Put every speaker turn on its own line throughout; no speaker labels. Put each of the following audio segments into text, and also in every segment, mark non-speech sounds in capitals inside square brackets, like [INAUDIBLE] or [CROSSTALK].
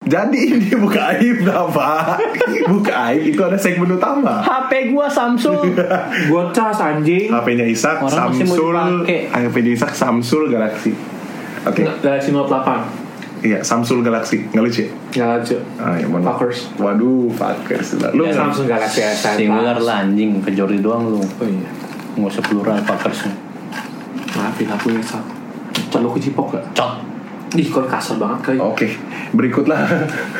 Jadi ini buka aib Bapak. Buka aib itu ada segmen utama.
HP gua Samsung.
Gue cas anjing.
HP-nya Isak
Orang masih mau
Samsul.
dipakai.
HP-nya Isak Samsul Galaxy. Oke.
Galaxy Note 8.
Iya, Samsul Galaxy. Nggak lucu ya?
Galaxy.
Ah, ya, mohon maaf.
Fuckers.
Waduh, fuckers. Lu
Lu
Iya,
Ya, Samsung Galaxy S10.
Singular lah anjing ke Jordi doang lu.
Oh iya.
Nggak usah plural fuckers.
Maafin aku ya Sal. Perlu kecipok gak?
Cot.
Ih, kok kasar banget kali.
Oke, berikutlah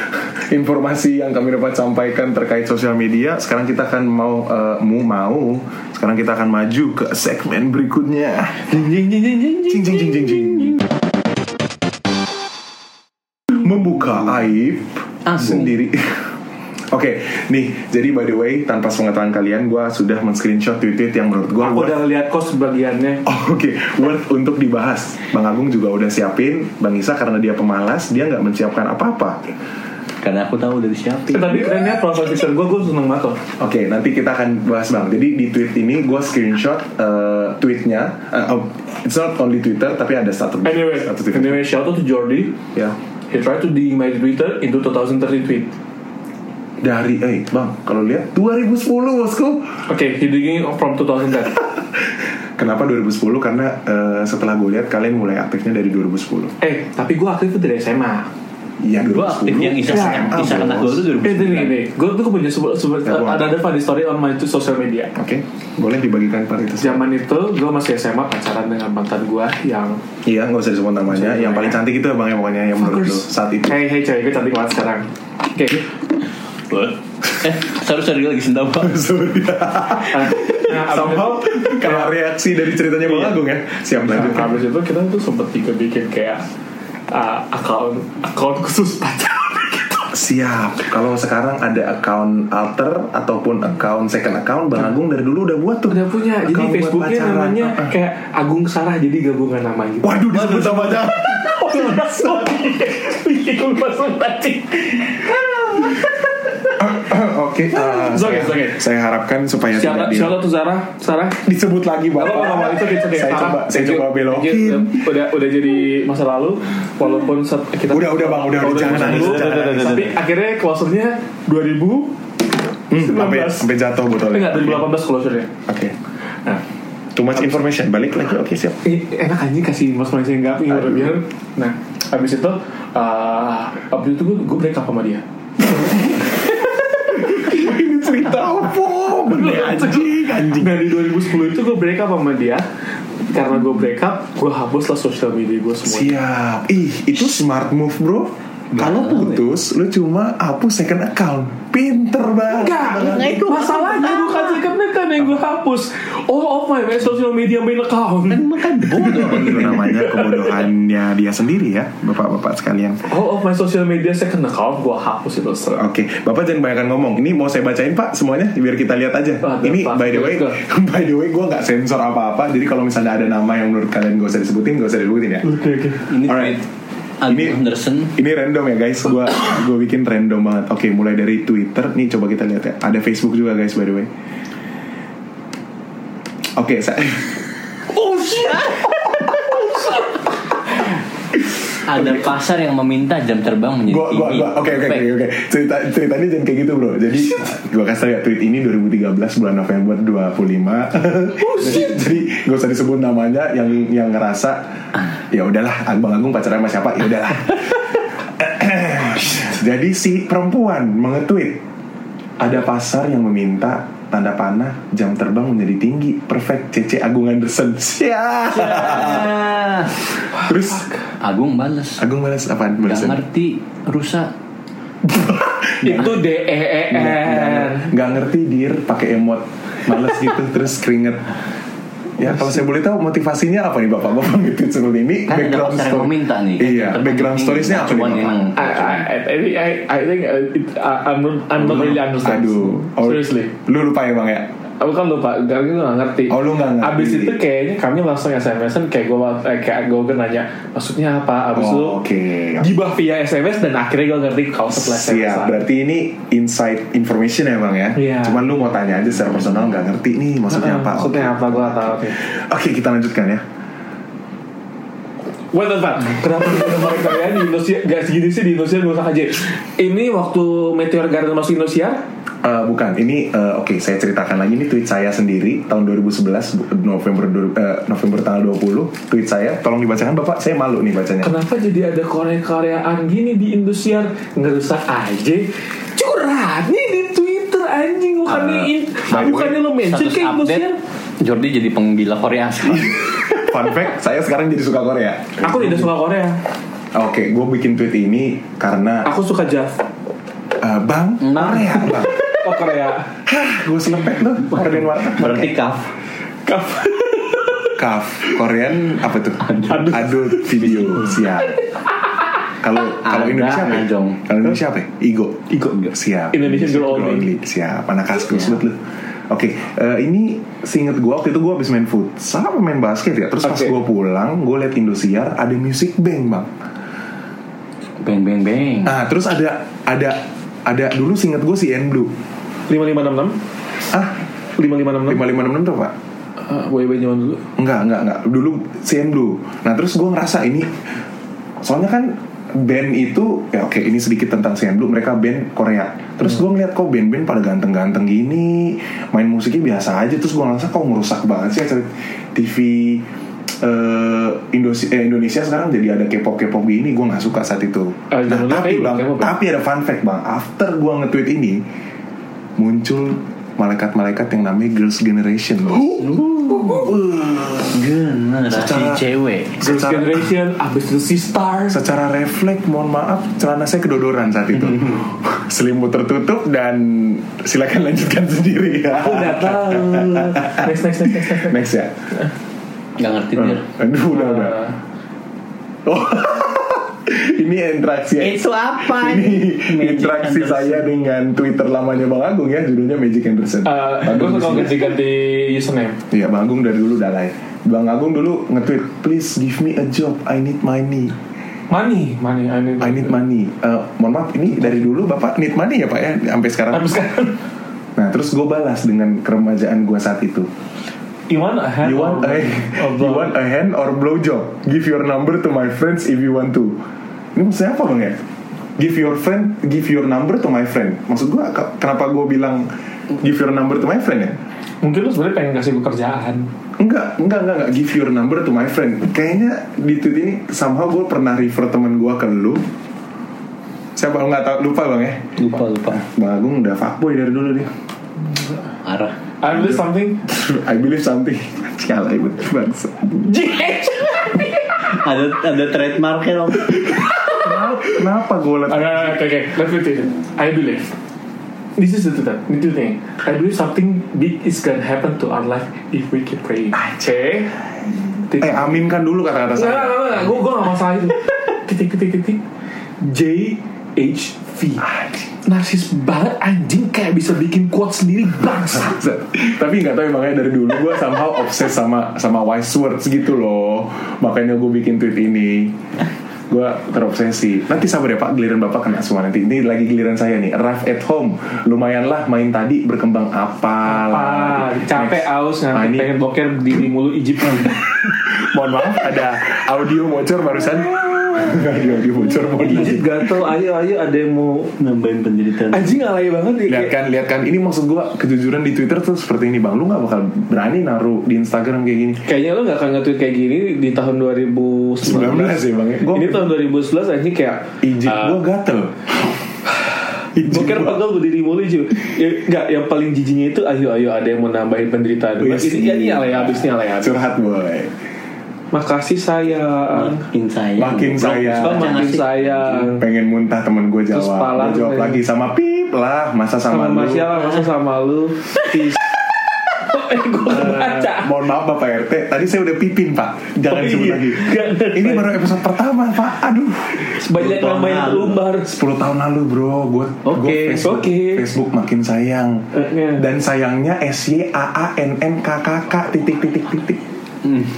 [LAUGHS] informasi yang kami dapat sampaikan terkait sosial media. Sekarang kita akan mau eh, mu mau. Sekarang kita akan maju ke segmen berikutnya. Jing jing jing jing jing. Membuka aib
Aku.
sendiri. [LAUGHS] Oke, nih jadi by the way tanpa pengetahuan kalian, gue sudah men-screenshot tweet-tweet yang menurut gue
Aku udah lihat kok sebagiannya.
Oh, [LAUGHS] Oke, worth untuk dibahas. Bang Agung juga udah siapin, Bang Isa karena dia pemalas, dia nggak menyiapkan apa-apa.
Karena aku tahu dari siapa.
Eh, tapi kerennya profile picture gue, gue seneng banget loh.
Oke, nanti kita akan bahas bang. Jadi di tweet ini gue screenshot eh, tweetnya. Eh, oh, it's not only Twitter, tapi ada satu
Anyway,
satu tweet.
anyway, shout out to Jordi.
Ya
He tried to dig my Twitter into 2030 tweet.
dari, eh bang, kalau lihat 2010 bosku.
Okay, he digging from 2010.
Kenapa 2010? Karena eh, setelah gue lihat kalian mulai aktifnya dari 2010.
eh, tapi gue aktif itu dari SMA.
Iya 2010.
Gue aktif yang isa
Ya,
senang. Isa
ampun,
anak
bos.
gue tuh
Eh, ini ini,
2009.
ini. Gue tuh punya sebuah, sebuah
Ya, gua-
ada ada funny story on my social media.
Oke, boleh dibagikan Pak itu.
Zaman itu gue masih SMA pacaran dengan mantan gue yang
Iya, nggak usah disebut namanya. Yang paling cantik itu ya, bang, yang pokoknya yang menurut lu saat itu.
Hey hey cewek gue cantik banget sekarang. Oke,
What? Eh, seharusnya dia lagi sendawa.
Sudah.
eh,
Iya,
nah, abis
[LAUGHS] Somehow
itu-
karena reaksi dari ceritanya Bang Agung ya. Siap lanjut.
Nah, abis itu kita tuh sempet juga bikin kayak uh, account account khusus pacaran.
Siap. Kalau sekarang ada account alter ataupun account second account Bang Agung dari dulu udah buat tuh.
Iya. Udah punya, jadi
Account buat
Facebooknya
pacaran.
namanya
Ah, ah.
kayak Agung Sarah jadi gabungan nama [LAUGHS] gitu.
Waduh disebut sama aja.
Oh, iya, Bikin langsung tadi.
Oke. ah,
It's
saya-
okay, it's okay.
Saya harapkan supaya tidak
Siapa?
di-
Siapa tuh Sarah? Sarah?
disebut lagi Bapak.
Oh, oh, oh, itu kita
Iya. Saya coba gitu saya coba Hmm,
Udah,
belokin.
udah udah jadi masa lalu walaupun set- kita
Udah, udah, Bang, udah, udah, jangan
masa
nangis,
lalu,
jangan
tapi
nangis.
tapi akhirnya closernya 2000
Hmm, sampai
19.
sampai jatuh
eh,
botolnya.
enggak 2018 closernya.
Oke.
Nah,
Too much information. Balik lagi. Oke, siap.
eh, enak anjing kasih mas mas yang gak pengen berlebihan. Nah, habis itu ah, habis itu gue gue break up sama dia.
Ini cerita apa? Bener anjing, anjing.
Dari 2010 itu gue break up sama dia karena gue break up, gue hapus lah sosial media gue semua.
Siap. Ih, itu smart move, Bro. Kalau putus, lu cuma hapus second account. Pinter banget. Nah,
Enggak, itu masalahnya bukan second account yang gue hapus. All of my social media main account.
Makan bodoh abang
Itu namanya kebodohannya dia sendiri ya, bapak-bapak sekalian.
All of Oh, my social media second account gue hapus itu setelah.
Oke, Bapak jangan banyakkan ngomong. Ini mau saya bacain Pak semuanya, biar kita lihat aja.
Ada
ini
apa?
by the way,
Juga.
[LAUGHS] by the way, gue nggak sensor apa-apa. Jadi kalau misalnya ada nama yang menurut kalian gak usah disebutin, gak usah disebutin ya.
Oke oke.
Ini
Alright.
tweet Agung
Ini-
Henderson.
Ini random ya guys, gue gue bikin random banget. Oke, mulai dari Twitter. Nih coba kita lihat ya. Ada Facebook juga guys by the way. Oke, saya [LAUGHS]
Ada pasar yang meminta jam terbang menjadi
gua gua
tinggi.
gua oke oke oke oke cerita ceritanya jangan kayak gitu bro jadi gua kasih tau ya tweet ini 2013 bulan November 25 [LAUGHS] jadi, jadi gak usah disebut namanya yang yang ngerasa ya udahlah abang agung pacaran sama siapa ya udahlah jadi si perempuan mengetweet ada pasar yang meminta tanda panah jam terbang menjadi tinggi perfect cc agung anderson [LAUGHS] Siap.
Ah,
terus
Agung balas.
agung balas apaan
Gak
balasnya?
ngerti rusak.
Itu D E E
Eh.
N.
nggak ngerti dir pakai emot males
[LAUGHS]
gitu terus keringet ya kalau saya boleh tahu motivasinya apa nih bapak bapak gitu seperti ini
Kan ada pasar yang meminta nih.
iya background storiesnya apa nih
Cuman
bapak
emang
I, I, I, I, I think uh, it, uh, I'm not, I'm not really understand.
aduh oh,
Seriously.
lu lupa ya bang ya
Aku kan lupa, karena itu gak ngerti.
Oh, lu nggak ngerti.
Abis itu kayaknya kami langsung SMS-an kayak gue eh, kayak gue nanya maksudnya apa. Abis itu
Oh, oke
gibah via SMS dan akhirnya gue ngerti kalau setelah SMS.
Siap, berarti ini inside information ya bang ya
Iya.
Cuman lu mau tanya aja secara personal nggak ngerti
Hmm,
nih maksudnya apa
Maksudnya
Oke.
apa gue gak tahu.
Oke kita lanjutkan ya
Wait, wait, wait. Kenapa di nomor kalian di Indonesia gak segini sih di Indonesia gak usah aja. Ini waktu Meteor Garden masuk Indonesia,
Eh, bukan, ini eh, oke saya ceritakan lagi ini tweet saya sendiri tahun 2011 bu- November du- eh, November tanggal 20 tweet saya tolong dibacakan Bapak saya malu nih bacanya.
[LAUGHS] kenapa jadi ada korea-koreaan gini di Indonesia ngerusak aja? Curhat nih di Twitter anjing bukannya
Ah,
in-
by the
bukannya lo mention gitu,
Status
ke Indonesia.
update Jordi jadi penggila
[LAUGHS]
Korea sekarang.
Fun fact, saya sekarang jadi suka Korea.
Aku tidak suka Korea.
Oke, gue bikin tweet ini karena
Aku suka Jav.
eh, Bang
Nah.
Korea, Bang.
Oh Korea.
gue selepet loh Korean warteg.
Berarti kaf
Kaf Korean apa tuh? Adult, video siap. Kalau kalau
Anda
Indonesia apa? ya?
ngajong.
Kalau Indonesia apa? ya? Igo. Igo siap.
Indonesian Girl Only.
siap. Anak kaskus buat lu. Oke, eh, ini seinget gue waktu itu gue habis main futsal apa main basket ya. Terus pas
Oke.
gue pulang, gue liat Indosiar ada music bank bang.
Beng beng beng
Nah, terus ada ada ada dulu seinget gue si N Blue.
Lima lima enam enam.
Ah,
Lima lima enam Ah, enam.
lima lima enam tuh pak?
Boy boy nyaman dulu.
Enggak, enggak, enggak. Dulu CN Blue. Nah, terus gue ngerasa ini soalnya kan band itu ya oke ini sedikit tentang CN Blue mereka band Korea terus gue ngeliat kok band-band pada ganteng-ganteng gini main musiknya biasa aja terus gue ngerasa kok ngerusak banget sih acara TV eh, Indonesia, eh, Indonesia sekarang jadi ada K-pop-K-pop gini gue nggak suka saat itu
Ah,
nah,
zaman dulu
tapi
kayak
bang
K-pop ya?
tapi ada fun fact bang after gue nge-tweet ini muncul malaikat-malaikat yang namanya Girls Generation bang.
Generasi
Secara-
cewek
Girls
Secara-
Generation, abis itu si Stars.
secara refleks mohon maaf celana saya kedodoran saat itu
Mm-hmm.
[LAUGHS] selimut tertutup dan silakan lanjutkan sendiri ya
Aku udah tahu. Next next next next. next.
[LAUGHS] next ya
Gak ngerti
Iya.
dia
[LAUGHS] aduh udah udah
Ah.
oh, ini interaksi ya.
Itu apa
[LAUGHS] ini
Magic
interaksi
Anderson.
saya dengan Twitter lamanya Bang Agung ya judulnya Magic Anderson.
Eh,
Bang
gue
Agung di sini.
suka ganti-ganti username.
Iya Bang Agung dari dulu udah live. Bang Agung dulu nge-tweet please give me a job I need money.
Money, money, I need,
I need
[LAUGHS]
money. Eh, mohon maaf, ini dari dulu bapak need money ya pak ya, sampai sekarang.
Tapi sekarang,
Nah, terus gue balas dengan keremajaan gue saat itu.
you want a
You
hand?
want
or-
a,
or
[LAUGHS] you
blow?
want a hand or blow job? Give your number to my friends if you want to. Ini maksudnya apa bang ya? Give your friend, give your number to my friend. Maksud gue, kenapa gue bilang give your number to my friend ya?
Mungkin lu sebenarnya pengen kasih gue kerjaan.
Enggak, enggak, enggak, enggak. Give your number to my friend. Kayaknya di tweet ini somehow gue pernah refer temen gue ke lu. Siapa nggak tahu lupa bang ya?
Lupa lupa
Bang Agung udah fuckboy dari dulu nih. [LAUGHS]
Arah
I believe something. [LAUGHS]
I believe something. [LAUGHS] Kalah ibu bangsa.
JH.
Ada ada ya, trademarknya dong
Kenapa- Kenapa gue liat
Oke, oke, oke. Let's repeat it. I believe. This is the truth. This is the thing. I believe something big is gonna happen to our life if we keep praying. Aceh. Titik.
Eh aminkan dulu kata-kata
Nggak, nggak,
saya
nggak, nggak. Gue gue nggak masalah itu. Titik, titik, titik. J H V. Narsis banget anjing kayak bisa bikin quote sendiri bangsa.
Tapi nggak tahu ya, makanya dari dulu gue somehow obses sama sama wise words gitu loh Makanya gue bikin tweet ini Gue terobsesi Nanti sabar ya pak giliran bapak kena semua nanti Ini lagi giliran saya nih Arrive at home Lumayan lah main tadi berkembang apa
Ah, capek aus
Ah,
nanti
ini-
pengen boker diri mulu Egypt.
Mohon maaf ada audio bocor barusan [LAUGHS] Ada audio bocor mohon maaf.
Egypt gatel, ayo ayo ada yang mau
iya. Nambahin penderitaan
anjing alay banget dia.
lihat
kayak-
kan lihat kan ini maksud gua kejujuran di Twitter tuh seperti ini bang lu nggak bakal berani naruh di Instagram kayak gini
Kayaknya lo gak akan nge-tweet kayak gini di tahun
19
2019
ya, Bang, ya? Gua-
Ini tahun 2011 anjing kayak
izin
ah,
gua gatel Ijik
Boker
Eh. gua-
pegel berdiri mulu cuy ya, Enggak, yang paling jijinya itu Ayo, ayo, ada yang mau nambahin penderitaan
Wih,
Ini, ini, ini alay abis, ini alay abis
curhat boy
Makasih sayang
Makin sayang
Makin sayang.
Kau makin sayang
pengen muntah temen gua
Terus
jawab gua
pala tuh
jawab
kayak-
lagi sama pip lah masa sama,
Sama
lu
Mas Yala, masa sama lu Peace [LAUGHS] Eh, gue baca
Eh, mohon maaf Bapak RT, tadi saya udah pipin Pak, jangan
Oh,
disebut
iya.
lagi.
Jangan.
Ini baru episode pertama Pak, aduh.
Banyak
Brutal
nama yang
banget.
lumbar
10 tahun lalu bro, gue
Oke,
Facebook,
oke.
Facebook makin sayang.
Eh, eh.
Dan sayangnya S Y A A N N K K K titik titik titik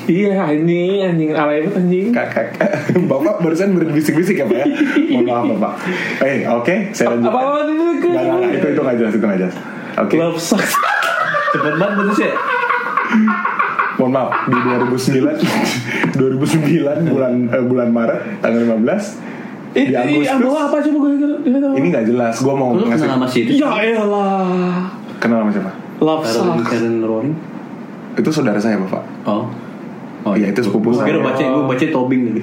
Iya, anjing, anjing, alay banget anjing
kakak. [LAUGHS] Bapak barusan berbisik-bisik ya Pak ya? Mohon maaf Bapak. Eh oke, saya lanjut.
Apa-apa
Nggak, nggak, nggak, itu itu [LAUGHS] nggak jelas itu nggak jelas. Oke.
Love sucks
Cepet banget betul sih
mohon maaf di [LAUGHS] 2009 2009 bulan eh, bulan Maret tanggal 15 di Agustus
apa coba gue ingat
ini nggak jelas gue mau
iya, Lu
ngasih
kenal sama si
Ya elah
kenal sama siapa
Love
Karen
sucks
Karen Roaring?
itu saudara saya bapak
Oh. Oh
Iya, itu sepupu
Gue
saya.
baca, gue baca Tobing tadi.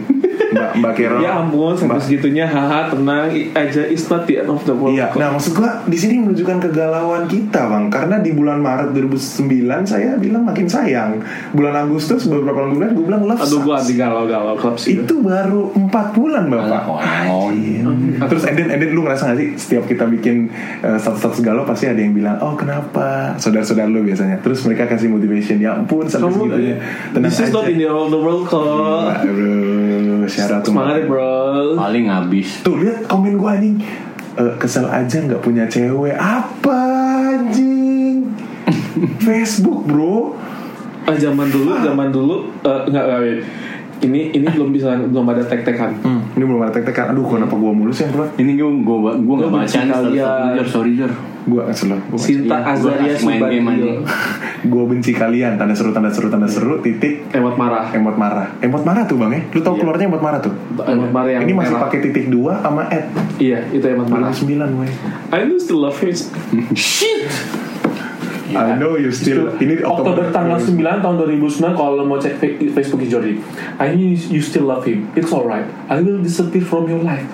Mbak Mbak Carol
Ya ampun sampai
Mbak-
segitunya Haha tenang i- aja It's not the end of the world
Iya, nah maksud gua di sini menunjukkan kegalauan kita, Bang. Karena di bulan Maret 2009 saya bilang makin sayang. Bulan Agustus beberapa bulan kemudian gua bilang love
Aduh gue
sucks.
anti galau-galau Clubs gitu
Itu baru 4 bulan, Bapak.
Oh, iya.
Terus Eden, Eden lu ngerasa gak sih setiap kita bikin eh, status-status galau pasti ada yang bilang, "Oh, kenapa?" Saudara-saudara lu biasanya. Terus mereka kasih motivation, "Ya ampun, sampai
Kamu
segitunya." Tenang
This is not
aja. Iya,
the end of the world kok
Wah, Bro, syarat tuh.
Semangat ya bro
Paling habis.
Tuh lihat komen gue anjing Eh, Kesel aja nggak punya cewek Apa anjing [LAUGHS] Facebook bro
Ah, Zaman dulu, zaman dulu eh, Enggak, enggak, wait. Ini, ini belum bisa, belum ada tek-tekan
Ini belum ada tek-tekan Aduh kenapa ya, gue mulu sih yang keluar
Ini gue gue gue nggak
Lu
baca
benci
nih status
kalian.
status Jor, sorry Jor.
Gue kesel Gue
Sinta
Iya, gua
Azaria
harus main game
Subagio
anjing.
Gue benci kalian Tanda seru tanda seru tanda seru Titik
Emot marah
Emot marah Emot marah tuh bang ya Lu tau keluarnya emot marah tuh
Iya. Emot marah yang
Ini masih
merah.
pakai titik dua sama at
Iya, itu emot marah
29 weh
I do still love you Shit
I know you still Ini
Iya. Oktober tanggal 9 tahun 2009 kalau lo mau cek fe- Facebook Jordi I knew you still love him It's alright I will disappear from your life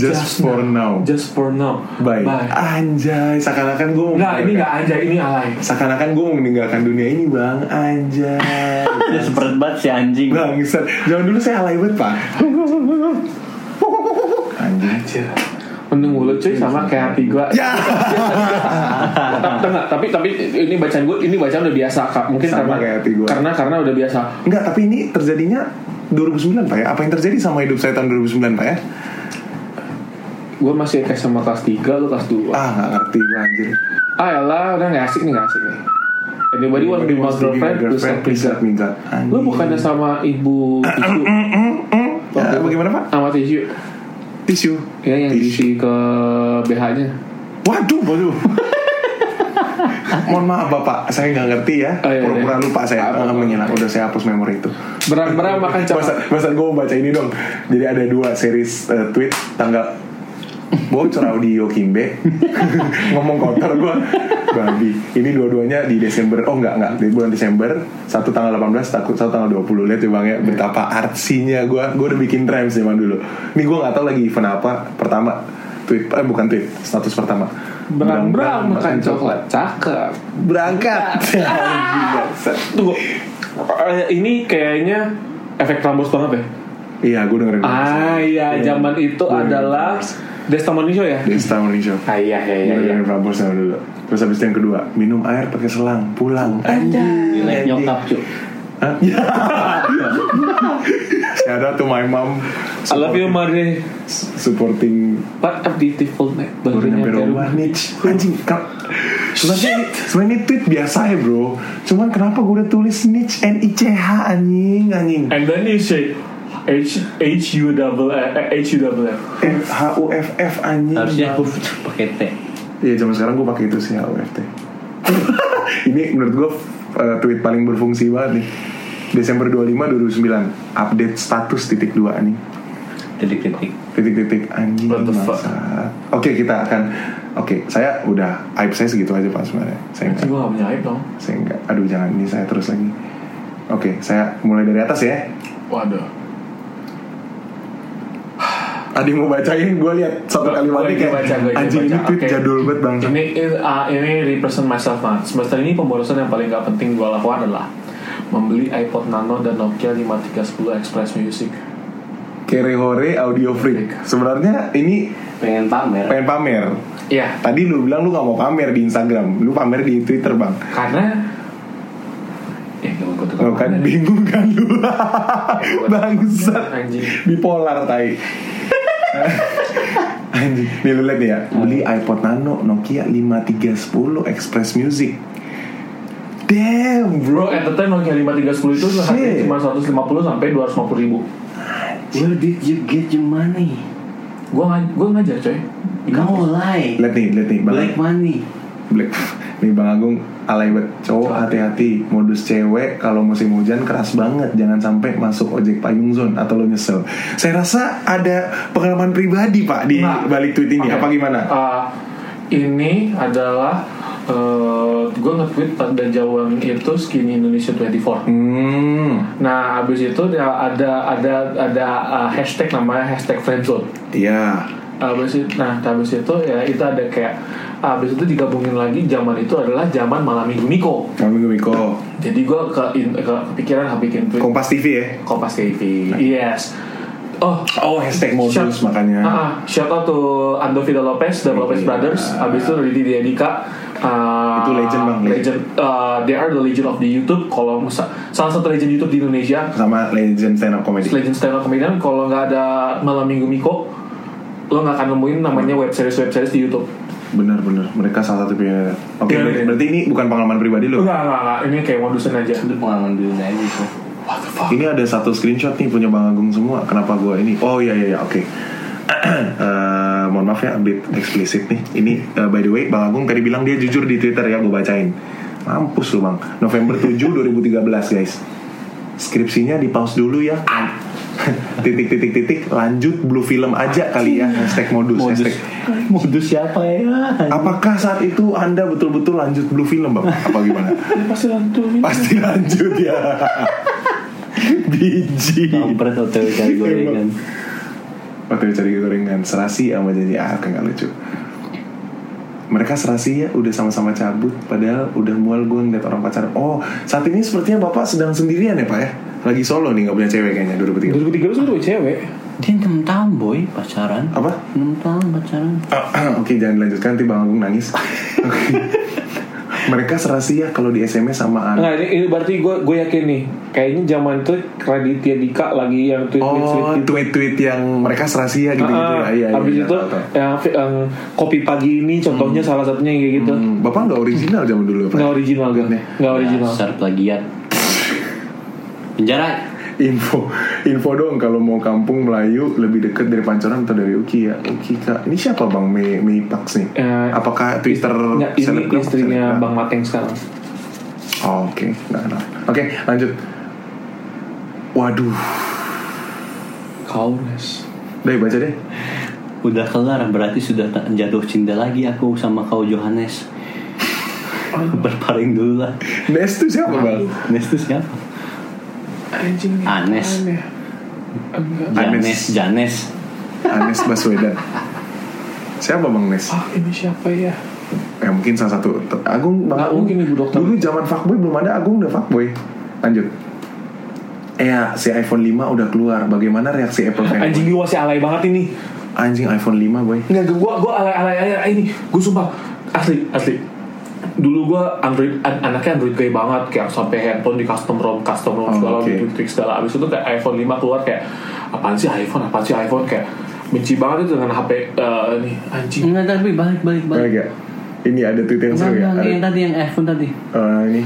Just for now
Just for now
Bye Anjay Seakan-akan gue
Enggak Nah, ini enggak anjay Ini alay
seakan-akan gue mau meninggalkan dunia ini bang
[LAUGHS]
anjay
Dia sempet banget si anjing.
bang Mister, jangan dulu saya alay banget pak anjing
Mending mulut cuy sama kayak hati [LAUGHS] gue
ya
Tengah, tapi tapi ini bacaan gue ini bacaan udah biasa kak mungkin
Sama
karena
kayak hati gua.
karena karena udah biasa
enggak tapi ini terjadinya 2009 pak ya apa yang terjadi sama hidup saya tahun 2009 pak ya
gue masih kayak sama kelas 3 lo kelas 2
ah nggak ngerti gue anjir
ah elah udah gak asik nih gak asik nih anybody want to be my girlfriend please let me
please
go.
minggat
lo bukannya sama ibu tisu
ya, bagaimana pak
sama tisu
tisu
ya yang diisi ke BH nya
waduh
[LAUGHS]
waduh mohon maaf bapak saya nggak ngerti ya
Oh, iya, iya.
pura-pura lupa saya
Apa-apa.
Ah, mengira udah saya hapus memori itu
berang-berang makan
Masa,
cakap
masa gue mau baca ini dong Jadi ada dua series eh, tweet Tanggal Bocor audio Kimbe [LAUGHS] Ngomong kotor gue Babi Ini dua-duanya di Desember Oh enggak, enggak Di bulan Desember Satu tanggal 18 takut Satu tanggal 20 Lihat ya bang ya Betapa artsinya gue Gue udah bikin rhymes zaman dulu Ini gue gak tahu lagi event apa Pertama Tweet Eh bukan tweet Status pertama
berang-berang makan coklat cakep
Berangkat
tunggu Eh, ini kayaknya efek Prambors banget ya
Iya gue dengerin
ah iya zaman itu adalah Desta Manisho ya
Desta Morning Show
ah iya iya iya,
Iya,
iya.
dengerin Prambors sama dulu. Terus habis itu yang kedua, minum air pakai selang, pulang. Anjay.
Jelek nyokap cuy.
Hah? [LAUGHS] Ya. Shout out to my mom.
I love you Mare
Supporting
What a beautiful night
baru
Barunya
nyampe
baru. ya.
rumah nih. Anjing, kau Sebenarnya ini, sebenarnya ini tweet biasa ya bro Cuman kenapa gue udah tulis niche and ICH anjing anjing
Eh.
And then you say H H U double uh, H U double F.
F H U F F anjing
Harusnya aku [LAUGHS] pakai T.
Iya zaman sekarang gue pakai itu sih HUFT [LAUGHS] Ini menurut gue uh, tweet paling berfungsi banget nih Desember 25 2009 Update status titik dua nih
Titik-titik.
Titik-titik anjing
What the fuck?
bangsat. Oke kita akan Oke saya udah Aib saya segitu aja pak sebenarnya Saya enggak,
Gue gak punya aib dong.
saya enggak Aduh jangan ini saya terus lagi Oke saya mulai dari atas ya
Waduh.
Ada yang mau bacain gue lihat satu
Gua-
kalimatnya
gua lagi
kayak
baca, gua lagi
Anjing
baca.
ini tweet
Oke.
jadul banget bang
Ini ini- ah, ini represent myself banget. Semester ini pemborosan yang paling gak penting gue lakukan adalah membeli iPod Nano dan Nokia 5310 Express Music.
Kerehore audio freak Sebenarnya ini
Pengen pamer.
pengen pamer
Iya.
Tadi lu bilang lu gak mau pamer di Instagram Lu pamer di Twitter bang
Karena Eh, gak mau gua tukar
Lo kan
mana nih?
bingung kan lu [LAUGHS] Bangsat
Anjing.
Bipolar tai Anjing Nih lu liat nih ya Beli iPod Nano Nokia 5310 Express Music Damn bro
Bro, at the time Nokia 5310 itu harganya
Shit.
cuma 150 sampai 250 ribu.
Where did you get your money?
Gue gue ngajar coy. Di kampus.
No lie.
Liat nih, liat nih Bang
Black money.
Black [LAUGHS] Nih Bang Agung alay banget cowok hati-hati modus cewek kalau musim hujan keras banget jangan sampai masuk ojek payung zone atau lo nyesel saya rasa ada pengalaman pribadi pak di
Nah.
balik tweet ini ya? apa
Oke.
gimana
Uh, ini adalah gue nge-tweet pada jawaban itu Skinny Indonesia 24.
hmm
Nah, habis itu dia ada ada ada uh, hashtag namanya hashtag friendzone.
iya
Habis itu, nah habis itu ya itu ada kayak habis itu digabungin lagi zaman itu adalah zaman malam minggu Miko.
kami Miko
Jadi gue ke, in- ke kepikiran hab bikin tweet
Kompas TV ya
Kompas TV. Yes. Oh,
oh hashtag modus
Shout-
makanya
Ah, shout out to Ando Vida Lopez, The Lopez
Iya.
Brothers, abis itu Ridi Diadika. Ah,
Itu legend, Bang.
Legend. Ah, they are the legend of the YouTube. Kalau musa- salah satu legend YouTube di Indonesia,
sama legend stand up comedy
legend stand up comedian. Kalau nggak ada Malam Minggu Miko, lo nggak akan nemuin namanya web series web series di YouTube.
benar-benar mereka salah satu pionir oke
Iya,
ber-
iya.
berarti ini bukan pengalaman pribadi lo
Enggak, enggak, enggak. Ini kayak modusin aja.
Itu pengalaman dulu aja sih.
Ini ada satu screenshot nih punya Bang Agung semua. Kenapa gua ini? Oh iya iya iya, oke. [CLEARS THROAT] Eh, mohon maaf ya, update eksplisit nih. Ini eh, by the way, Bang Agung tadi bilang dia jujur di Twitter ya, gue bacain. Mampus lu bang. November 7 2013 guys. Skripsinya di pause dulu ya. [LAUGHS] titik titik titik lanjut blue film aja kali ya hashtag modus,
Modus,
hashtag
modus siapa ya?
apakah saat itu anda betul-betul lanjut blue film bang apa gimana
Pasti lantuin.
pasti lanjut ya biji
Kampret hotel cari gorengan.
Waktu cari gorengan serasi sama janji ah kan gak lucu mereka serasi ya udah sama-sama cabut padahal udah mual gue ngeliat orang pacaran oh saat ini sepertinya bapak sedang sendirian ya pak ya lagi solo nih gak punya cewek kayaknya 2003
2013 gue udah cewek.
Dia 6 tahun boy pacaran.
apa
[CLEARS THROAT] 6 tahun pacaran.
Oke jangan lanjutkan nanti Bang Agung nangis Oke. Mereka serasi ya kalau di SMS sama anak
Enggak, ini, ini berarti gue gue yakin nih. Kayaknya zaman itu Raditya Dika lagi yang tweet
Oh tweet-tweet yang mereka serasi ya gitu-gitu ya
gitu. Ah,
Iya, iya,
habis
iya,
itu
tahu, tahu.
yang, yang kopi pagi ini contohnya salah satunya yang kayak gitu.
Hmm, Bapak nggak original zaman dulu ya Pak
Nggak original kan?
Nih. Iya,
Nggak original.
Dasar plagiat. Penjara.
info info dong kalau mau kampung Melayu lebih dekat dari Pancoran atau dari Uki ya Uki kak ini siapa bang Mei Mei Pax nih
Eh,
apakah Twitter
Nggak, ini
selebgram? Selebgram.
istrinya Bang Mateng sekarang.
Oh, oke nggak kenal oke lanjut waduh
Kaules.
Udah baca deh
Udah kelar berarti sudah tak jatuh cinta lagi aku sama kau Johannes. Berpaling dulu lah.
Nes tuh siapa bang
Nes itu siapa?
Anjing.
Anes.
aneh. Enggak.
Janes,
Anes.
Janes.
Anes Ah, Baswedan siapa bang Nes
Ah, ini siapa ya?
ya mungkin salah satu Agung Bang
Nggak
Agung.
mungkin ibu dokter.
dulu zaman fuckboy belum ada Agung udah fuckboy lanjut Eh, ya, si iPhone 5 udah keluar. Bagaimana reaksi Apple fanboy?
Anjing gua sih alay banget ini.
Anjing iPhone 5 boy
Nggak, gua gua alay alay alay ini. Gua sumpah asli asli. Dulu gua Android an- anaknya Android gay banget kayak sampai handphone di custom ROM, custom ROM
Oh,
segala
oke.
gitu tweak segala. Abis itu kayak iPhone 5 keluar kayak apaan sih iPhone, apaan sih iPhone kayak benci banget itu dengan HP eh, ini anjing.
Enggak tapi balik balik
Balik
balik.
ya Ini ada tweet yang seru ya
Enggak, enggak, yang
ada,
tadi yang iPhone tadi.
Eh, Ini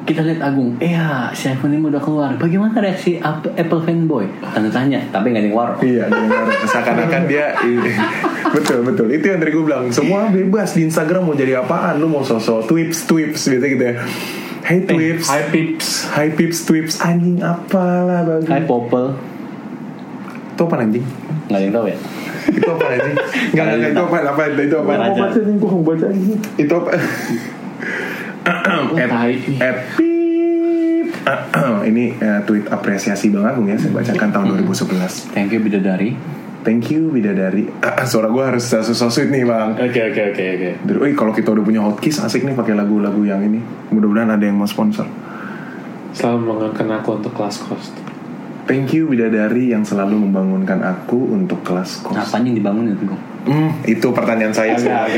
Kita lihat Agung. Iya, si iPhone ini udah keluar. Bagaimana reaksi Ap- Apple fanboy? Tanda tanya. Tapi nggak ada yang war.
Iya ada yang marah. Seakan-akan dia i- [LAUGHS] Betul betul Itu yang tadi gue bilang Semua bebas di Instagram mau jadi apaan Lu mau sosok Twips Twips Biasanya gitu ya Hey Twips
Eh, Hi Pips.
Hi Pips Twips Anjing apalah
Hai
bagi
Popel.
Itu apa anjing?
Nggak ada yang tahu ya.
Itu apa anjing? Enggak enggak enggak, itu apa apa itu apa?
Biar aja.
nih gue mau baca ini. Itu apa? At-
tai.
at pip. [CLEARS THROAT] ini eh, tweet apresiasi Bang Agung ya saya bacakan tahun 2011.
Thank you bidadari.
Thank you bidadari. Ah, ah, suara gue harus sesuai nih bang.
Oke oke oke oke.
Dari, "Wih, kalau kita udah punya hotkeys asik nih pakai lagu-lagu yang ini. Mudah-mudahan ada yang mau sponsor.
Selalu mengenakan aku untuk kelas cost.
Thank you bidadari yang selalu membangunkan aku untuk kelas kos.
Apanya yang dibangun itu Gung?
Hmm, itu pertanyaan saya. sih.
Jadi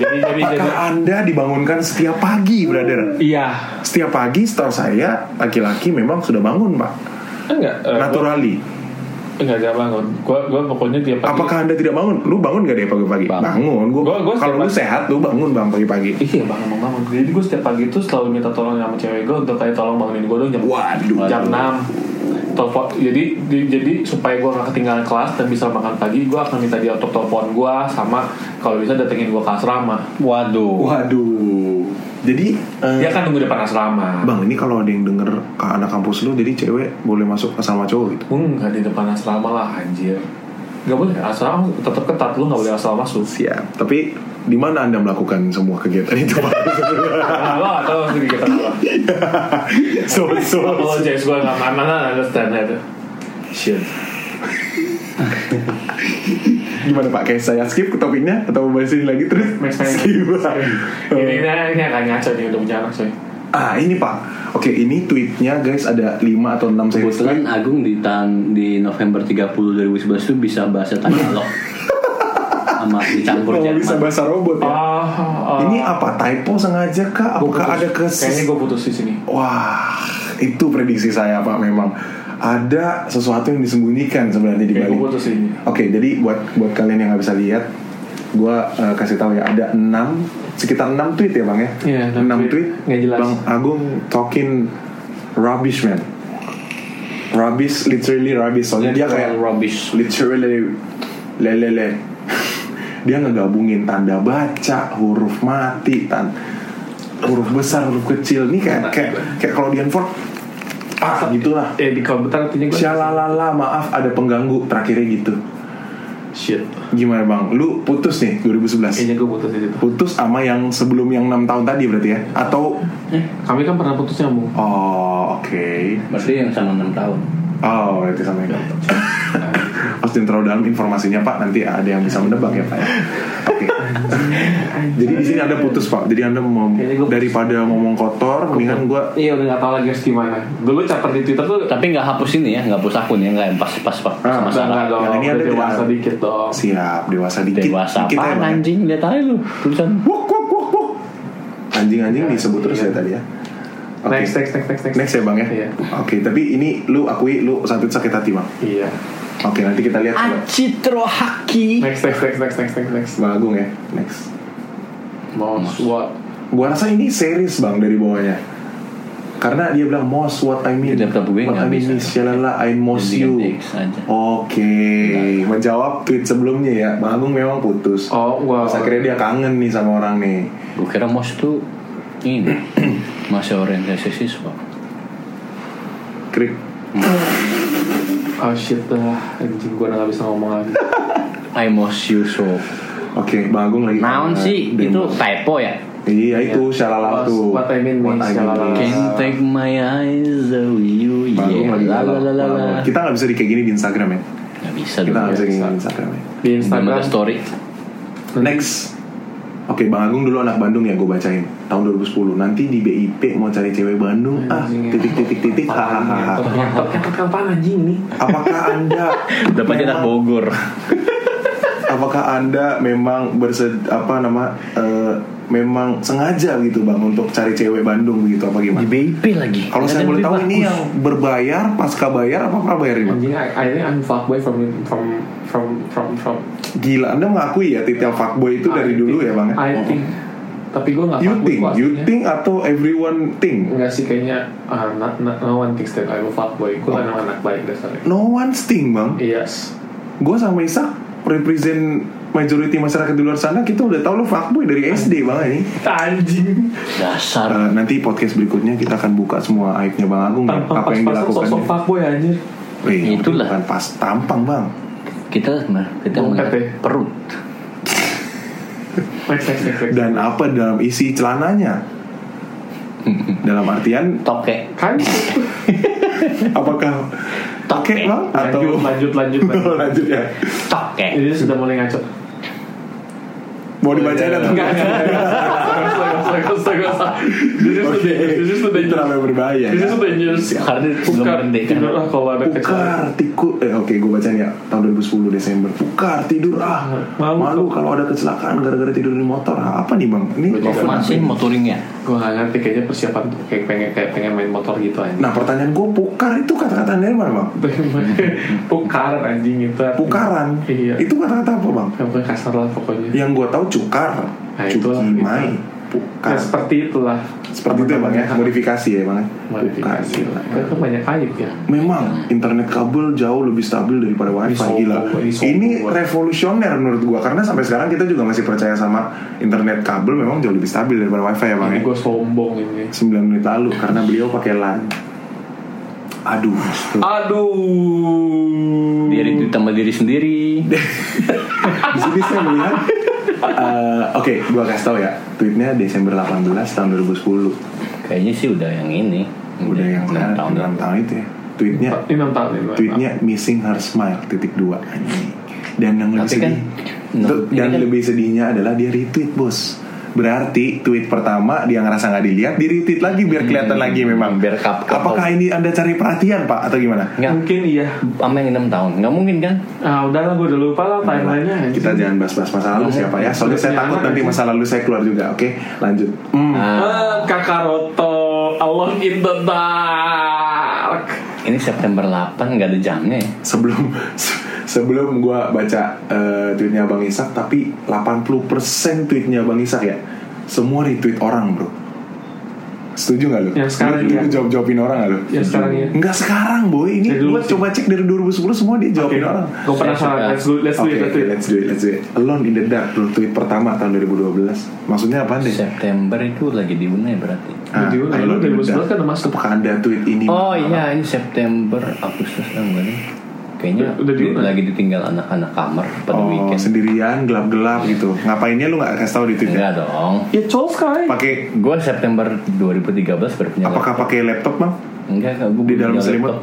jadi jadi.
Apakah anda dibangunkan setiap pagi, brother?
Iya.
Setiap pagi setahu saya laki-laki memang sudah bangun pak.
Enggak. eh, gua-
Naturally.
Enggak enggak bangun. Gua gua pokoknya tiap pagi.
Apakah anda tidak bangun? Lu bangun gak deh pagi-pagi?
Bangun.
Bangun. Gua,
Gua-
kalau
gua setiap
lu
pagi.
sehat, lu bangun bang pagi-pagi.
Iya bang, emang bangun. Jadi gue setiap pagi tuh selalu minta tolong sama cewek gue untuk kayak tolong bangunin gue dong jam
Waduh.
jam enam. Telepon. Jadi di- jadi supaya gue gak ketinggalan kelas dan bisa makan pagi, gue akan minta dia untuk telepon gue sama kalau bisa datengin gue ke asrama.
Waduh.
Waduh. Jadi eh,
Dia kan tunggu depan asrama.
Bang ini kalau ada yang denger ke anak kampus lu jadi cewek boleh masuk sama cowok gitu.
Enggak di depan asrama lah anjir. Gak boleh asrama tetap ketat lu gak boleh asal [LAUGHS] masuk.
Siap. Tapi di mana anda melakukan semua kegiatan itu Pak?
[LAUGHS] Nah, lo atau sendiri kata apa?
so, so,
Kalau JS gue nggak nah, mana mana understand itu. Shit.
Gimana Pak? Kayak saya skip ke topiknya atau bahas ini lagi terus?
Next time.
Skip.
Ini ini ini akan ngaco nih udah punya anak coy.
ah ini Pak. Oke ini tweetnya guys ada 5 atau 6 series tweet.
Kebetulan Agung di tahun di November 30 2011 tuh bisa bahasa Tagalog sama dicampur
Kalau bisa
Jerman.
bahasa robot ya.
Ah, ah.
Ini apa typo sengaja kah?
Gua
Apakah
putus.
ada kes?
Kayaknya gue putus di sini.
Wah, itu prediksi saya Pak memang ada sesuatu yang disembunyikan sebenarnya di
Kayak gue
balik.
putus di sini.
Oke, jadi buat buat kalian yang nggak bisa lihat, gua eh, kasih tahu ya ada 6 sekitar 6 tweet ya Bang ya.
Iya, enam
6 tweet.
tweet. Nggak jelas.
Bang Agung talking rubbish man. Rubbish literally rubbish soalnya dia kayak
rubbish.
literally lelele [LAUGHS] dia ngegabungin tanda baca huruf mati tan huruf besar huruf kecil nih kayak kayak kayak kalau di Hanford ah gitulah
Eh di komputer artinya gue.
syalalala maaf ada pengganggu terakhirnya gitu
Shit.
gimana bang lu putus nih 2011
Kayaknya gue putus di situ.
putus sama yang sebelum yang enam tahun tadi berarti ya atau
Kami kan pernah putus nyambung.
oh oke
Berarti yang sama 6 tahun.
oh berarti sama yang
[LAUGHS]
harus jangan terlalu dalam informasinya pak nanti ada yang bisa menebak ya pak ya oke jadi di sini ada putus pak jadi anda mau
Kayaknya gua-
daripada ngomong kotor mendingan gue
Iya udah nggak tahu lagi harus gimana. Dulu caper di Twitter tuh.
Tapi nggak hapus ini ya, nggak hapus akun ya, nggak yang pas pas pas
Ah,
sama
Udah
Sarah.
nggak dong.
Yang ini
udah
ada di-
dewasa dikit dong.
siap dewasa dikit
Dewasa
Dikit ya,
apaan
Pak, ya?
anjing lihat aja lu tulisan.
Wuk, wuk, wuk, wuk. anjing-anjing disebut terus ya tadi ya Oke.
Iya. Next, next, next, next, next.
Next ya bang ya
Iya.
oke tapi ini lu akui lu satu sakit hati bang
Iya.
oke nanti kita lihat Bang.
Acitro Haki.
Next, next, next, next, next, next, next.
bang Agung ya next
Most what?
gua rasa ini series bang dari bawahnya karena dia bilang most what I mean
Di laptop gue
what
nggak
I mean
bisa.
is shalala I most
Jadi
you
nge-text aja.
Oke, menjawab tweet sebelumnya ya, Bang Agung memang putus.
Oh, wow.
Terus akhirnya dia kangen nih sama orang nih.
Gue kira mos tuh ini masih orientasi siswa.
Krik.
Oh shit dah, anjing gue udah gak bisa ngomong lagi.
I most you so.
Oke, Bang Agung lagi.
Naon
kangen.
sih
Dia-
itu typo ya.
Iya itu
Iya.
shalala
What-
tuh.
what I mean means
means.
shalala. Oke.
Can't take my eyes away you.
Bang Agung
Yeah.
lagi
La la
galau.
la la la.
Kita nggak bisa di kayak gini di Instagram ya.
Nggak bisa
Kita
dong.
nggak bisa
ya.
kayak gini di Instagram ya.
Di
Belum
Instagram.
ada story.
Next. Oke, Bang Agung dulu anak Bandung ya, gue bacain tahun 2010. Nanti di BIP mau cari cewek Bandung, ah
Anjing, iya. ya.
titik titik titik, hahaha.
Ngetok kapan anjing nih?
Apakah anda
Dapat
memang-
jarak Bogor.
Apakah anda memang bersed apa nama eh, memang sengaja gitu bang untuk cari cewek Bandung gitu apa
Di
gimana?
BIP lagi.
Kalau saya boleh tahu ini yang berbayar, pasca bayar, apa prabayar nih bang?
Anjing, I, I think I'm fuckboy from from from from from.
Gila, anda mengakui ya titel fuckboy itu dari
I
dulu
think-
ya bang? ya?
I
Oh.
think. Tapi gue gak
You
fuckboy
think,
gua
you
aslinya.
think atau everyone think?
Enggak sih kayaknya ah, not, not, no one thinks that I'm a fuckboy Gue kan
Oh.
emang anak baik dasarnya
No one think bang.
Yes
gue sama Isak represent majority masyarakat di luar sana kita udah tahu lo fuckboy dari SD bang ini
Anjing
Dasar.
Eh, nanti podcast berikutnya kita akan buka semua aibnya bang Agung ya,
Tanpa
apa yang
pas-pasan
dilakukan
sosok fuckboy anjir
Eh, itu
Itulah.
bukan pas tampang bang
Kita kita
Bongkat
melihat
ya.
perut.
Next next next next
dan apa dalam isi
[LAUGHS]
celananya dalam artian
Tokek.
Kan
apakah tokek bang atau
Lanjut lanjut lanjut lanjut.
[LAUGHS] lanjut ya
Tokek.
Ini sudah mulai ngaco
[LAUGHS] mau dibacain atau
Enggak,
enggak
enggak, enggak. Gak usah, gak usah, gak usah. This is
Oke,
the dangerous, this is the
itu
dangerous.
namanya berbahaya ya.
This is the dangerous.
Karena dia belum
Bukan,
merdeka.
tidur lah kalau ada kecuali.
Pukar tiku eh oke gue bacain ya tahun 2010 Desember. Pukar tidur ah malu,
Nah, Malu.
kalau ada kecelakaan gara-gara tidur di motor. Ah, apa nih bang? Ini
Betul.
apa
Masih ya?
nih?
motoringnya.
Gue gak ngerti kayaknya persiapan tuh kayak pengen kayak pengen main motor gitu aja.
Nah pertanyaan gue pukar itu kata-kata dari mana
Nah, [LAUGHS]
bang?
Pukar anjing itu. artinya.
Pukaran.
Iya.
Itu kata-kata apa bang?
Iya,
Ya, bukan kasar lah pokoknya.
Yang gue tahu cukar,
Nah,
cuki
itulah,
mai.
itu. Ya,
Bukan.
seperti itulah
Seperti itu emang ya, modifikasi ya emang. ya?
modifikasi
Bukan.
lah. Kan banyak aib ya.
Memang internet kabel jauh lebih stabil daripada wifi
Ini
gila.
sombong, ini sombong
Ini
gua.
revolusioner menurut gua karena sampai sekarang kita juga masih percaya sama internet kabel memang jauh lebih stabil daripada wifi ya bang.
Ini
Iya.
ya?
gue sombong ini.
9 menit lalu karena beliau pakai LAN. Aduh.
Aduh.
Diri itu tambah diri sendiri.
Di sini saya melihat eh, oke, gua kasih tau ya. Tweetnya Desember 18 tahun 2010.
Kayaknya sih udah yang ini.
Iya,
Udah yang
enam
sekarang
tahun
enam tahun itu ya. Tweetnya
Ini enam tahun ini.
Iya.
tweetnya missing her smile titik dua anjing. dan yang lebih
Tapi
sedih
kan, no,
Tuh,
ini
dan
kan-
lebih sedihnya adalah dia retweet bos berarti tweet pertama dia ngerasa nggak dilihat di retweet lagi biar kelihatan lagi memang
Hmm, biar kap- kap-
apakah ini anda cari perhatian pak atau gimana
Nggak,
Mungkin iya.
sama yang enam tahun. Nggak mungkin kan?
Ah, udahlah gue udah lupa lah timelinenya.
kita jangan bahas-bahas masa lalu siapa ya soalnya saya
Jangan,
takut nanti
anjing.
masa lalu saya keluar juga oke lanjut Hmm.
Ah,
Ah, Kakaroto Alone in the Dark.
ini September 8 nggak ada jamnya ya.
sebelum se- sebelum gue baca eh, tweetnya Bang Isak tapi 80% tweetnya Bang Isak ya semua retweet orang bro setuju nggak lu?
Yang sekarang
Lu- lu
ya.
jawab jawabin orang nggak lu?
Yang sekarang ya.
Nggak sekarang boy ini
Dari dulu
gue
sih.
coba cek dari 2010 semua dia jawabin orang. Ya.
Gue penasaran. Let's do, let's do
Oke,
it, let's do
oke,
it.
let's do it, let's do it. Alone in the dark, bro. Tweet pertama tahun 2012. Maksudnya apa deh?
September itu lagi di Brunei berarti.
Jadi, lu
Alone in the
2011 kan
Dark.
udah masuk.
Apakah anda tweet ini?
Oh iya, ini September, Agustus enggak nih. Kayaknya
Udah di Brunei.
lagi ditinggal anak-anak kamar pada
Oh,
weekend.
sendirian, gelap-gelap gitu. Ngapainnya lu nggak kasih tahu di tweetnya?
Enggak dong.
Ya Charles Kai.
Pakai
Gue September 2013
Iya,
baru punya
Apakah pakai laptop bang?
laptop. Enggak, enggak gue
Di dalam selimut?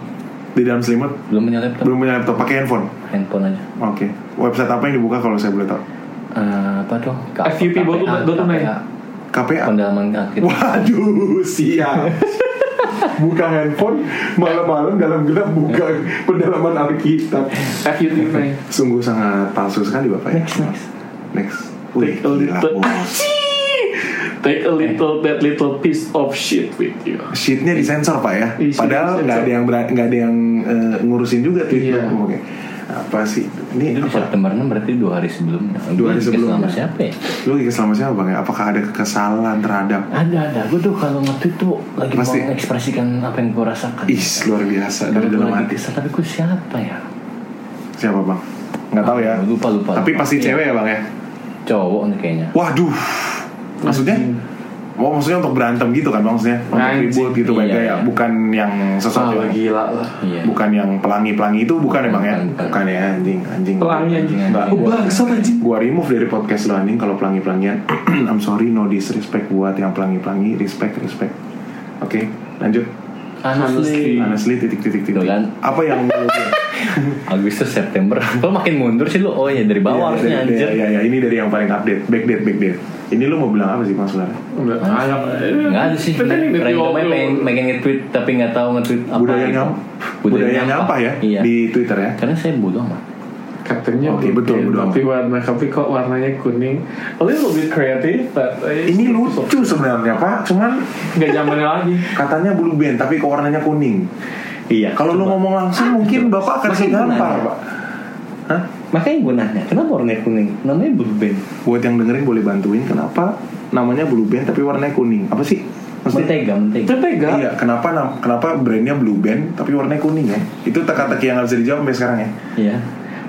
Di dalam selimut?
Belum punya laptop.
Belum punya laptop, pakai handphone.
Handphone aja.
Oke. Website apa yang dibuka kalau saya boleh tahu?
Eh, apa tuh? K-
FUP
KPA,
Bodum- Bodum ya?
KPA,
KPA.
Pendalaman kaki.
Waduh, siap. buka handphone malam-malam dalam gelap buka pendalaman Alkitab.
FU
[LAUGHS]
Brunei.
Sungguh sangat palsu sekali bapak ya.
Next, next.
Next. Wih,
Take a
gila,
little.
bos.
Take
Eh.
a little that little piece of shit with you.
Sheetnya disensor pak ya.
Iya, sheetnya
Padahal nggak ada yang beran- nggak ada yang eh, ngurusin juga tweet
Iya.
lu. Oke. Apa sih? Ini
Itu di
apa?
September 6 berarti dua hari sebelumnya.
Dua
Gua
hari
juga
sebelumnya.
Sama siapa ya?
Lu lagi selama siapa bang ya? Apakah ada kesalahan terhadap
Ada ada. Gue tuh kalau nge-tweet tuh lagi
Pasti.
mau mengekspresikan apa yang gue rasakan.
Is luar biasa
Tapi
dari
gue
dalam
lagi
hati.
kesel. Tapi gue siapa ya?
Siapa bang? Nggak tahu ya.
Lupa lupa.
Tapi
lupa. Iya,
pasti cewek ya bang ya.
cowok nih kayaknya.
Waduh. Maksudnya? Oh maksudnya untuk berantem gitu kan bang maksudnya? Untuk
Anjing.
ribut gitu
Iya,
baik ya.
iya.
Bukan yang
Ah,
sesuatu. yang-
gila lah.
Iya.
Bukan yang pelangi-pelangi itu bukan ya bang ya?
Bukan, bukan.
Bukan ya anjing anjing.
Pelangi anjing.
Nggak,
Oh
gua-
bangsat anjing.
Gua remove dari podcast lo anjing kalau pelangi-pelangian. [CLEARS THROAT] I'm sorry no disrespect buat yang pelangi-pelangi. Respect respect. Oke lanjut.
Honestly.
Honestly titik titik titik.
Tuh kan.
Apa yang lu-
Agustus September. [LAUGHS] Lo makin mundur sih lo. Oh ya dari
Iya,
bawah harusnya
dari-
anjir.
Iya, iya, ini dari yang paling update, backdate, backdate. Ini lu mau bilang apa sih Mas Ular?
Nggak ada sih. Random aja pengen, pengen nge-tweet tapi nggak tahu nge-tweet apa.
Budaya
gitu.
nyam, budaya nyampah ya
Iya.
di Twitter ya.
Karena saya bodoh amat.
Katanya
Oke,
putih,
Oh, betul, betul.
Tapi warna tapi kok warnanya kuning. A little bit creative, but eh,
Ini lucu sebenarnya Pak, cuman
nggak zamannya
[LAUGHS]
lagi.
katanya blue band tapi kok warnanya kuning.
Iya.
Kalau lu ngomong langsung mungkin Bapak akan
Makin
kasih gambar,
benar.
Pak. Hah?
Makanya gue nanya, kenapa warnanya kuning? Namanya blue band.
Buat yang dengerin boleh bantuin kenapa namanya blue band tapi warnanya kuning. Apa sih? Maksudnya
Mentega, mentega.
Itu tega.
Iya, kenapa nam- kenapa brandnya blue band tapi warnanya kuning ya? Itu teka-teki yang nggak bisa dijawab sampai sekarang ya.
Iya.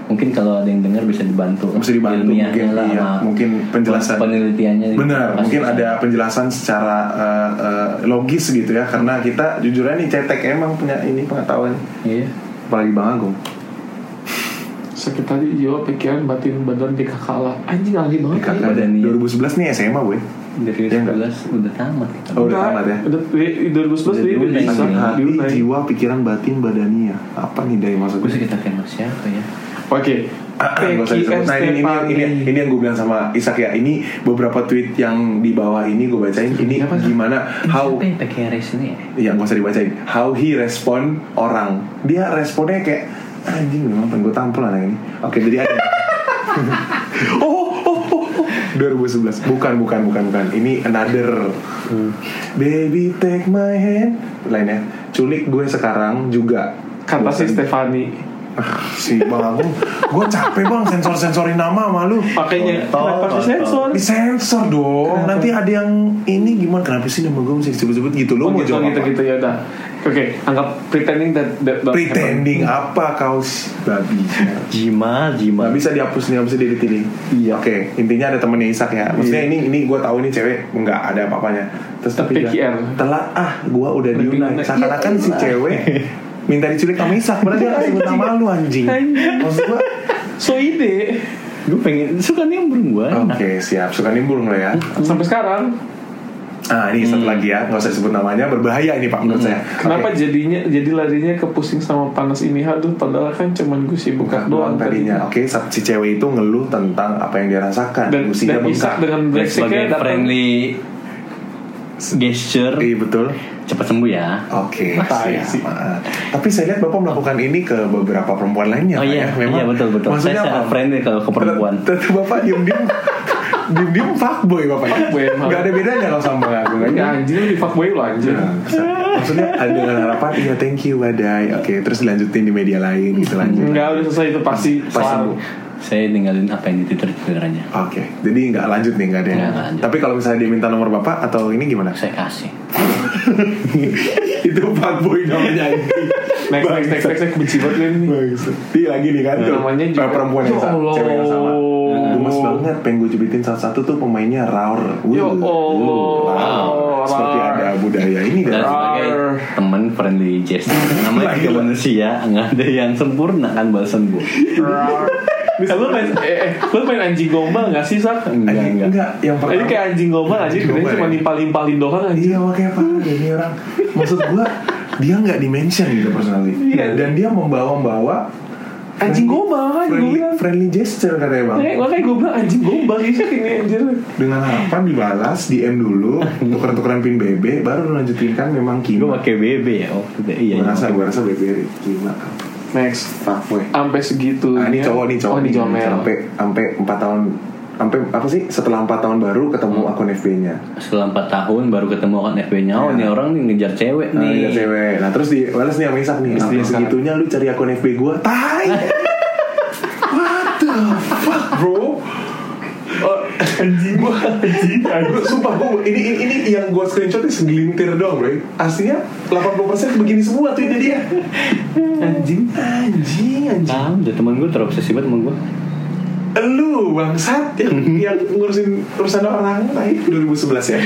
Mungkin kalau ada yang dengar bisa dibantu.
Bisa dibantu,
Ilmiahnya
mungkin,
lah
iya.
sama
Mungkin penjelasan.
Penelitiannya.
Benar,
Pasti
mungkin
bisa.
ada penjelasan secara eh, eh, logis gitu ya Karena kita jujurnya nih cetek emang punya ini pengetahuan
Iya.
Apalagi Bang Agung
Sakit hati, jiwa, pikiran, batin, badan, di kalah. Anjing ahli banget.
Di
kali.
kakak dan
Badan, iya.
2011 nih SMA gue
Dari
Iya nggak?
2011 udah tamat. kita.
Oh, udah tamat ya? Nah,
Udah, di- di 2011 dia
Udah
udah
diundang
bisa
ini.
Hati,
diundang.
jiwa, pikiran, batin, badania Apa nih dari maksud
Gue
gue?
sakit hati sama siapa ya?
Oke.
Ah, Nggak usah
Peggy
disebut. Nah ini, ini, ini,
Estefani.
ini yang gue bilang sama Isak ya Ini beberapa tweet yang di bawah ini gue bacain Ini
Apa sih?
gimana
Ini
How
Siapa yang pakai race ini ya?
ya gak usah dibacain how he respond orang dia responnya kayak anjing memang pengen gue tampol anak ini oke jadi ada [LAUGHS] oh, oh, oh, oh. 2011 bukan bukan bukan bukan ini another
Hmm.
baby take my hand lainnya culik gue sekarang juga
Kata
Bosan.
si
Kan
Stefani.
si Bang Agung gue capek bang sensor sensorin nama sama lu
Pakainya kenapa
tol,
di sensor?
disensor dong
Kenapa?
nanti ada yang ini gimana kenapa sih nama gue mesti disebut-sebut gitu lo
Oh,
mau
gitu
jawab
gitu
apa
gitu ya udah. Oke, anggap pretending that, that don't
pretending apa kau si babi
Jima,
nggak
Jima.
bisa dihapus nih, nggak bisa didetailing.
Iya.
Oke, intinya ada temennya Isak ya. Maksudnya ini ini gue tahu ini cewek nggak ada apa-apanya. Terus tapi
Tapi
dia
GR.
telat ah gue udah
Lebih
diunai.
enak.
Seakan-akan si cewek minta diculik sama Isak berarti dia sebut nama lu anjing. Maksud gue
happen. So ide
Gue pengen suka nimbrung gue.
Oke siap suka nimbung lah ya.
sampai sekarang
Ah ini satu lagi ya nggak usah sebut namanya berbahaya ini pak menurut saya.
kenapa
Oke.
jadinya jadi larinya ke pusing sama panas ini aduh padahal kan cuman gue sibuk
Bengkak doang tadinya. Oke sa- si cewek itu ngeluh tentang apa yang dia rasakan.
dan,
Gusinya
dan Isak
bengkak.
dengan
Dan
breaksticknya
sebagai
datang
friendly gesture
Iya betul.
cepat sembuh ya.
Oke,
Tai
siap.
sih.
Maaf. Tapi saya lihat Bapak melakukan ini ke beberapa perempuan lainnya,
Oh
Pak,
iya,
ya. Memang.
iya betul betul.
Maksudnya
Saya sangat
apa?
friendly kalau ke perempuan.
Tentu Bapak
[LAUGHS]
diem-diem diem-diem fuckboy Bapak. ya?
Fuckboy, emang.
Nggak ada bedanya kalau sama Bang Agung aja.
ya anjing lu di fuckboy lu anjing
Nah, Maksudnya ada dengan harapan iya thank you badai. Oke, terus dilanjutin di media lain gitu lanjut.
Enggak ya udah selesai itu pasti
Pas
selalu.
sembuh.
Saya ninggalin apa yang di Twitter Twitterannya.
Oke, jadi nggak lanjut nih nggak ada. yang-
Nggak lanjut.
Tapi kalau misalnya dia minta nomor bapak atau ini gimana?
[LAUGHS] Saya kasih.
Itu fuckboy namanya.
Next, next, next, next, next, benci banget gue ini.
Iya lagi nih kan tuh.
Namanya juga.
Eh, perempuan yang sama,
Ya
cewek yang sama.
Allah.
Gemes banget pengen gue jepitin salah satu tuh pemainnya Raur. Wuh,
Ya
wuh,
Allah.
Raur. Seperti
Raur.
ada budaya ini kan.
Dan
dan
sebagai
Rar.
teman friendly gesture. Namanya juga manusia, nggak ada yang sempurna kan bahasan bu.
Eh, lu main, eh, eh, lu main anjing gombal gak sih, Sak?
Enggak
Anjing,
enggak.
enggak yang
Ini
pertama.
kayak anjing gombal anjing,
Anjing
dia
gombal,
cuma
ya?
nimpal-nimpalin doang anjing.
Iya makanya apa ada ini orang. Maksud gue dia nggak dimension gitu personally.
Iya.
Dan dia membawa-bawa
Anjing gombal kan gue
friendly,
bilang.
friendly gesture katanya bang.
Eh, Makanya gue bilang anjing gombal sih ini anjir.
Dengan harapan dibalas DM
[LAUGHS]
dulu, tukeran-tukeran pin BB, baru lanjutin kan memang
Gue
kima.
pakai BB ya waktu itu. Iya.
Gue
iya.
rasa gue rasa BB kima.
Next,
Fuckboy.
sampai segitu.
Ah, ini cowok nih cowok.
Oh, ini
nih.
comel.
Sampai sampai 4 tahun sampai apa sih setelah 4 tahun baru ketemu akun FB-nya.
Setelah 4 tahun baru ketemu kan FB-nya. Oh, ini orang nih Ah, ngejar cewek
Nah,
nih.
iya, cewek. Nah, terus di balas nih sama Isak nih. Sampai
Isak.
segitunya lu cari akun FB gua. [LAUGHS] Tai. What the fuck, bro? Oh, anjing gua anjing Gua, sumpah gua ini ini, ini yang gua screenshot ini segelintir doang bro aslinya 80% begini semua tuh ini dia
Anjing.
anjing anjing
Tahu, udah teman gue terobsesi banget sama gue.
lu bangsat yang yang ngurusin urusan orang lain 2011 ya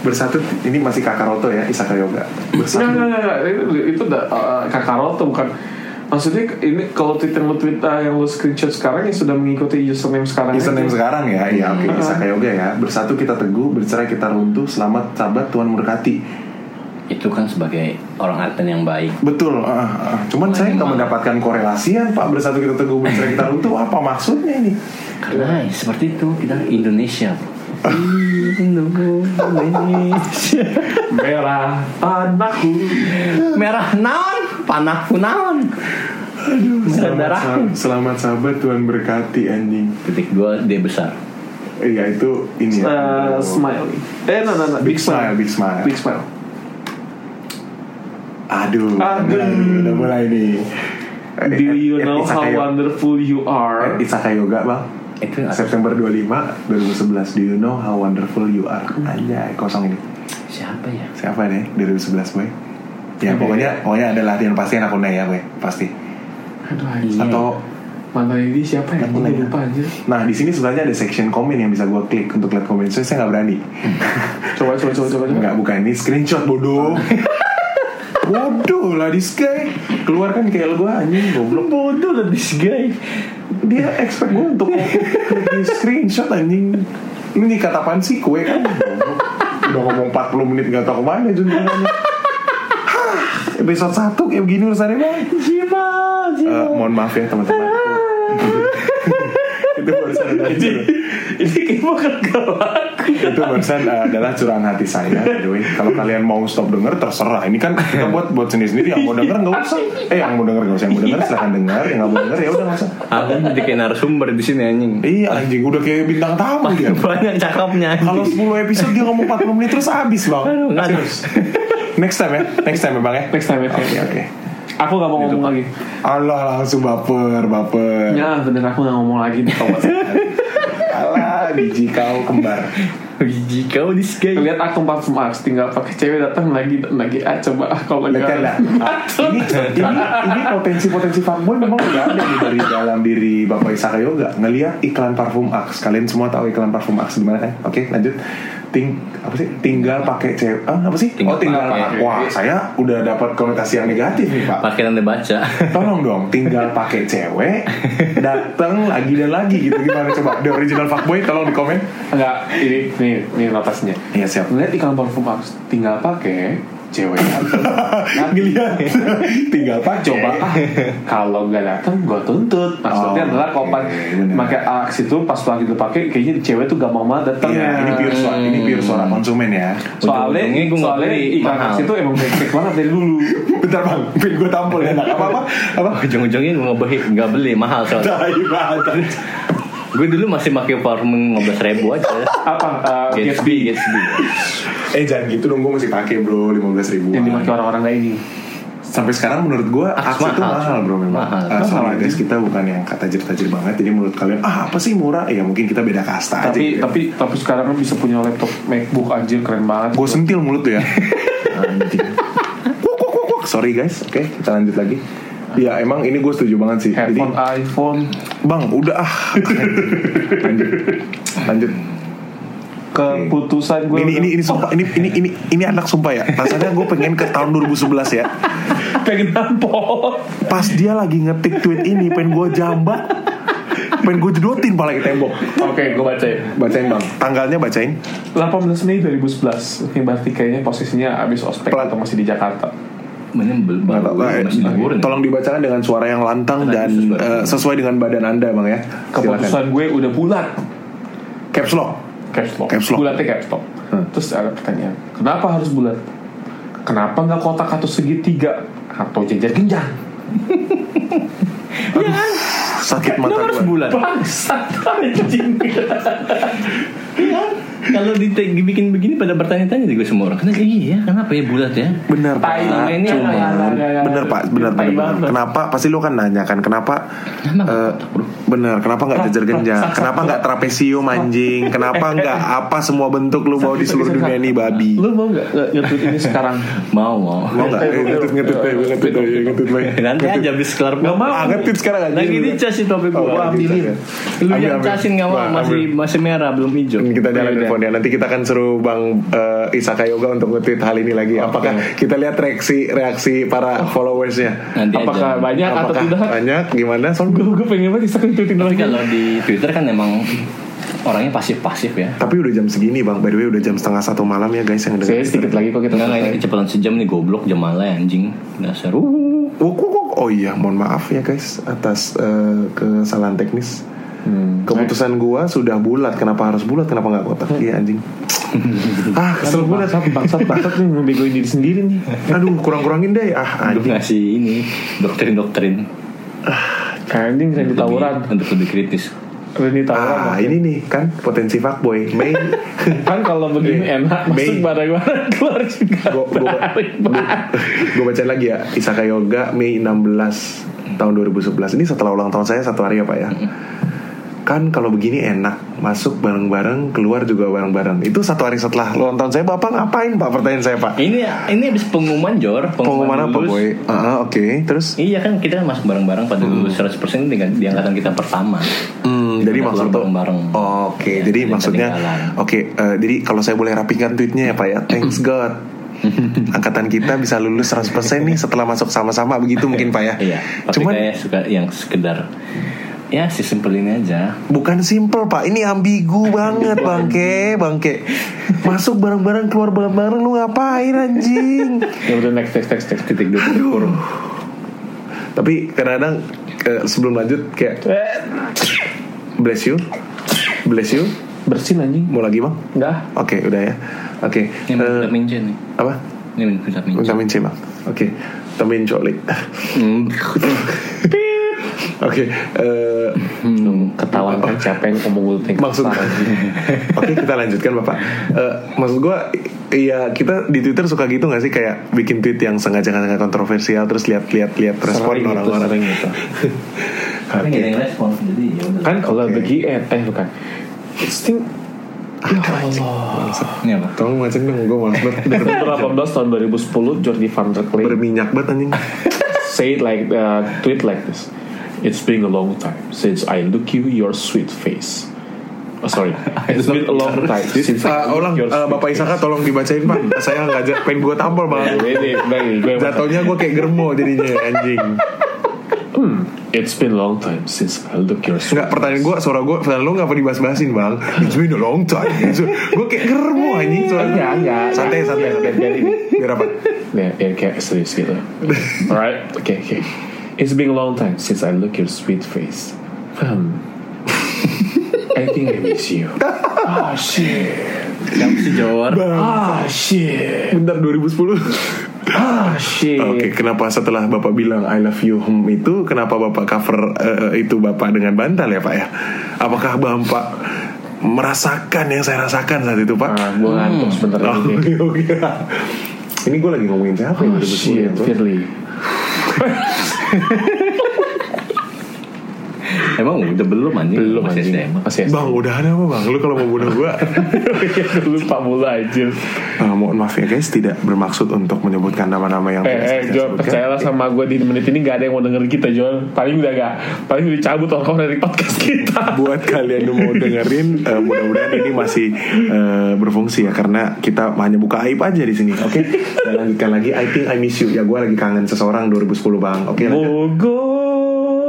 bersatu ini masih Kakaroto ya Isaka Yoga
Enggak,
bersatu
enggak, enggak, itu, itu udah uh, Kakaroto bukan Maksudnya ini kalau tweet yang lu tweet uh, yang lu screenshot sekarang yang sudah mengikuti username sekarang
Username
aja.
sekarang ya, ya oke
Hmm.
Isaka Yoga ya bersatu kita teguh bercerai kita runtuh selamat sahabat Tuhan mendekati
Itu kan sebagai orang Aten yang baik.
betul ah, ah.
Oh,
cuman saya
ini
nggak
mah.
mendapatkan korelasian pak bersatu kita teguh bercerai kita runtuh apa maksudnya ini
Karena seperti itu kita Indonesia. Ih, Indonesia.
merah tanahku
Merah naon, panah kunaon.
selamat,
darah.
sah- selamat sahabat Tuhan berkati anjing
Titik dua D besar.
iya itu ini ya
uh, smile. Eh, no, no, no, big,
Big smile,
smile.
big smile.
Big smile.
Aduh,
Aduh.
Udah mulai nih, udah mulai nih. Eh,
Do you
eh,
know how
Isaka Yo-
wonderful you
eh,
are?
Isaka Yoga bang
Itu yang atas
September 25, 2011 Do you know how wonderful you are Anjay, kosong ini
siapa ya?
Siapa deh, 2011 boy Ya pokoknya, pokoknya ada latihan pasti akunnya ya boy Pasti
Aduh, anjing.
Iya.
Atau
mantan ini siapa ya?
Aku
Aku
lagi.
lupa anjir.
Nah di sini sebenarnya ada section komen yang bisa gue klik untuk lihat komen Soalnya saya nggak berani
Hmm.
Coba, coba, coba, coba. coba.
Nggak bukan ini screenshot bodoh
Ah.
[LAUGHS] Bodoh lah di sky Keluar kan kayak gue anjing goblok
Bodoh lah this guy.
dia expect gue untuk di screenshot anjing ini nih kata apaan sih kue kan udah ngomong 40 menit gak tau kemana juntungannya Hah, episode 1 kayak begini urusannya bang
Jiwa, jiwa.
Eh, mohon maaf ya
[LAUGHS]
teman-teman itu barusan adalah curhat-
Ini kayak bukan kelak.
itu barusan eh, adalah curahan hati saya by the way. kalau kalian mau stop denger terserah ini kan kita buat buat sendiri sendiri yang mau denger nggak usah eh yang mau denger nggak usah yang mau denger silahkan denger yang nggak mau denger ya udah nggak usah
Aku kan jadi kayak narasumber di sini anjing.
iya anjing udah kayak bintang tamu dia
Banyak cakepnya.
Kalau 10 episode dia ngomong 40 menit terus habis bang.
Aduh, nggak
Serius. Next time ya, next time ya bang ya.
Next time, next
Oke
time.
oke.
Aku gak mau ngomong lagi.
Allah langsung baper, baper.
Ya bener aku gak ngomong lagi di Thomas.
Alah, biji kau kembar.
Biji kau di sky.
Lihat aku parfum Ars tinggal pakai cewek datang lagi dan lagi ah coba ah kalau
Lihat kan,
enggak.
nah, ini, ini, ini potensi-potensi fuckboy memang udah ada nih dari dalam diri Bapak Isaka Yoga ngelihat iklan parfum Axe. Kalian semua tahu iklan parfum Axe gimana kan? Oke, lanjut. Ting, apa sih? Tinggal pakai cewek. Ah, apa sih? oh,
Tinggal
tinggal
pakai.
pakai. Wah, saya udah dapat konotasi yang negatif nih, Pak.
Pakai tanda [LAUGHS] baca.
tolong dong tinggal pakai cewek datang lagi dan lagi gitu gimana coba the original fuckboy tolong di komen
Enggak, ini nih nih notasinya.
iya siap
Lihat iklan parfum Ars tinggal pakai
[LAUGHS]
cewek datang.
ngelihat tinggal pakai
coba ah kalau nggak datang gue tuntut maksudnya
Oh,
adalah kalau
oke,
pas
bener.
pakai aks itu pas lagi itu pakai kayaknya cewek tuh gampang banget datangnya
Iya, ini pure suara, ini pure suara konsumen ya.
soalnya
Untung-untungnya gua nggak
soalnya
beli,
iklan
mahal.
aks itu emang baik banget dari dulu
[LAUGHS] Bentar bang, pin gue tampol ya, Nak. apa apa apa.
Ujung-ujungnya gue ngebeli, nggak beli mahal soalnya.
Tai banget.
Gue dulu masih pakai parfum 15 ribu aja.
apa uh, Gatsby
Gatsby, Gatsby.
Eh jangan gitu dong, gue masih pakai bro, lima belas ribu.
yang dipakai orang-orang lain ini
Sampai sekarang menurut gue
Aks
Aks itu
mahal.
mahal bro memang.
Mahal.
Eh, sorry guys, kita bukan yang kata tajir-tajir banget. Jadi menurut kalian ah apa sih murah? Ya mungkin kita beda kasta aja.
tapi
gitu.
tapi tapi sekarang kan bisa punya laptop macbook anjir keren banget
Gue sentil mulut tuh ya. Anjing. Wuk, wuk, wuk, wuk. Sorry guys, oke kita lanjut lagi. Ya emang ini gue setuju banget sih. Jadi,
headphone iphone
bang udah ah. lanjut, lanjut.
keputusan gue
Ini ini ini sumpah ini ini ini ini anak sumpah ya. Rasanya gue pengen ke tahun 2011 ya.
pengen nampol
Pas dia lagi ngetik tweet ini, pengen gue jambak, pengen gue jedotin paling ke tembok.
oke gue baca ya
Bacain bang, tanggalnya bacain.
18 Mei 2011 Oke, berarti kayaknya posisinya abis ospek
Pelan.
atau masih di Jakarta
Mana bel- baru masih
eh.
ngurun.
eh, Tolong dibacakan dengan suara yang lantang dan eh, sesuai dengan badan anda bang ya. Silakan.
keputusan gue udah bulat
Caps lock.
caps lock
Caps lock. Hmm.
bulatnya caps lock terus ada pertanyaan kenapa harus bulat kenapa nggak kotak atau segitiga atau jajar genjang
sakit mata
Harus
gua.
bulan.
bangsat [LAUGHS] anjing
Iya. Kalau dite- dibikin begini pada bertanya-tanya juga semua orang. Kenapa iya? Kenapa ya bulat ya?
Bener pak.
Tai lu ini
Cuman-
ya, ya,
ya, ya.
Bener pak, bener
Tai
bener. bener.
banget.
Kenapa? Pasti lu kan nanya kan kenapa?
Kenapa nggak
eh,
kotak, bro?
bener. Kenapa nggak jajar genjang? Kenapa nggak trapesium anjing? Kenapa nggak apa semua bentuk lu bawa di seluruh dunia ini babi?
lu mau nggak ngetweet
[LAUGHS]
ini sekarang
Mau mau.
Mau nggak? Eh, Ngetut ngetut eh, ngetut eh, ngetut eh.
Nanti aja habis kelar
nggak mau
Ah ngetut sekarang anjing.
Lagi dicasin topik
Oh,
gua
lagi dicas
ambilin.
ya.
Lu
Ambil,
yang
ambil.
casin nggak
Wah,
mau masih masih merah belum hijau.
kita jalan
Yaudah.
telepon ya nanti kita akan seru bang eh, Isaka Yoga untuk nge-tweet hal ini lagi apakah kita lihat reaksi reaksi para followersnya
Nanti
apakah
aja.
banyak atau
apakah
tidak
banyak gimana soalnya
gue gue pengen banget disakin tweetin
Tapi
lagi
kalau di Twitter kan emang orangnya pasif-pasif ya.
Tapi udah jam segini bang, by the way udah jam setengah satu malam ya guys yang
saya
dengar.
sedikit lagi kok kita
Enggak enggak ini kecepatan sejam nih goblok jam malah anjing. Dasar. Uh.
Wuk, wuk, wuk. Oh iya, mohon maaf ya guys atas eh, kesalahan teknis. Keputusan gua sudah bulat, kenapa harus bulat, kenapa nggak kotak? Iya anjing. ah, kesel
Kesel
bulat.
bangsat bangsat bangsat nih ngebegoin diri sendiri nih
Aduh, kurang-kurangin deh. Ah,
Untuk
anjing.
ngasih ini doktrin-doktrin
anjing saya
Untuk
ditawuran
lebih- untuk lebih kritis.
Reni tawuran
Ah,
Bang.
ini nih kan potensi fuckboy. Mei
kan kalau begini
Iya.
enak masuk
Mei.
barang-barang keluar juga
Gua- gua-
Tarik banget.
gue baca lagi ya Isaka Yoga Mei 16 tahun 2011 ini setelah ulang tahun saya satu hari ya pak ya kan kalau begini enak masuk bareng-bareng keluar juga bareng-bareng itu satu hari setelah ulang tahun saya bapak ngapain pak pertanyaan saya pak
Ini ini habis pengumuman Jor,
pengumuman apa
lulus.
boy Ah, oke terus
Iya kan kita kan masuk bareng-bareng pada dulu 100% dengan di angkatan kita pertama.
Hmm, jadi
Kita
maksud
keluar
tuh
bareng-bareng.
oke jadi
jadi
maksudnya
ketinggalan.
oke eh, jadi kalau saya boleh rapikan tweetnya ya pak ya
[LAUGHS]
thanks God angkatan kita bisa lulus 100% nih setelah masuk sama-sama begitu mungkin pak ya
Iya, tapi
cuman
kayak suka yang sekedar ya si simple ini aja.
Bukan simple pak, ini ambigu banget bangke, bangke. Masuk bareng-bareng, keluar bareng-bareng, lu ngapain anjing?
ya udah next next next next titik dulu
Aduh. Tapi kadang-kadang eh, sebelum lanjut kayak bless you, bless you.
bersin anjing
Mau lagi bang?
enggak
Oke, udah ya. Oke. eh,
Ini vitamin C nih.
apa?
Ini vitamin C.
Vitamin C bang. Oke, vitamin coklat.
Hmm.
[LAUGHS] Oke, eh,
Ketahuan kan siapa yang ngomong gue
maksud Oke, kita lanjutkan Bapak. Eh, maksud gua iya kita di Twitter suka gitu nggak sih kayak bikin tweet yang sengaja sengaja kontroversial terus lihat-lihat lihat respon
Sering gitu,
orang-orang.
sering gitu.
Tapi nggak ada yang respon jadi ya udah.
Kan kalau
Oke.
bagi eh eh, bukan. Sting Ya Allah.
Ini apa?
Tolong macam dong, gue malas banget. Udah
[LAUGHS] Nomor 18 tahun 2010 Jordi Van der Klee
Berminyak banget anjing.
say it like uh, tweet like this. It's been a long time since I look you your sweet face. Oh, sorry, it's been a long time since
Eh,
I
ulang,
look your
eh,
sweet
Bapak Isaka tolong dibacain Pak. Saya nggak aja- pengen gue tampol malah.
face. Ini, ini, gue emang-
Jatuhnya gue kayak germo jadinya anjing.
It's been a long time since I look your sweet
Enggak pertanyaan gue suara gue suara lu nggak apa dibahas-bahasin bang It's been a long time Gue kayak germo anjing suara
Enggak, enggak.
Santai santai
Biar-
santai
Iya, biar- biar ini.
Biar apa
Ya, ya kayak serius gitu. Alright, oke okay, oke. Okay. It's been a long time since I look your sweet face. Hmm. I think I miss you. Ah shit.
Siapa sih Jor?
Ah shit.
Bentar 2010
Ah shit.
Oke kenapa setelah bapak bilang I love you home itu Kenapa bapak cover eh, itu bapak dengan bantal ya pak ya Apakah bapak merasakan yang saya rasakan saat itu pak
Ah, gue ngantuk sebentar
Oh,
lagi.
Oke oke Ini gue lagi ngomongin siapa ya
Oh
2010 ya,
shit,
Bang?
Firly.
Emang udah belum anjing?
Belum
Masih
anjing.
SDM.
Masih
Bang udahan apa bang Lu kalau mau bunuh [LAUGHS] gue
[LAUGHS] Lupa mula anjir.
Eh, mohon maaf ya guys, tidak bermaksud untuk menyebutkan nama-nama yang
Eh,
tidak
eh
saya
Jor,
sebutkan.
percayalah sama gue di menit ini gak ada yang mau denger kita, Jor. Paling udah gak, paling udah cabut orang dari podcast kita.
Buat kalian yang mau dengerin, eh, mudah-mudahan ini masih eh, berfungsi ya karena kita hanya buka aib aja di sini. Oke, Saya lanjutkan lagi. I think I miss you. Ya gue lagi kangen seseorang 2010 bang. Oke, lanjut.
Mogo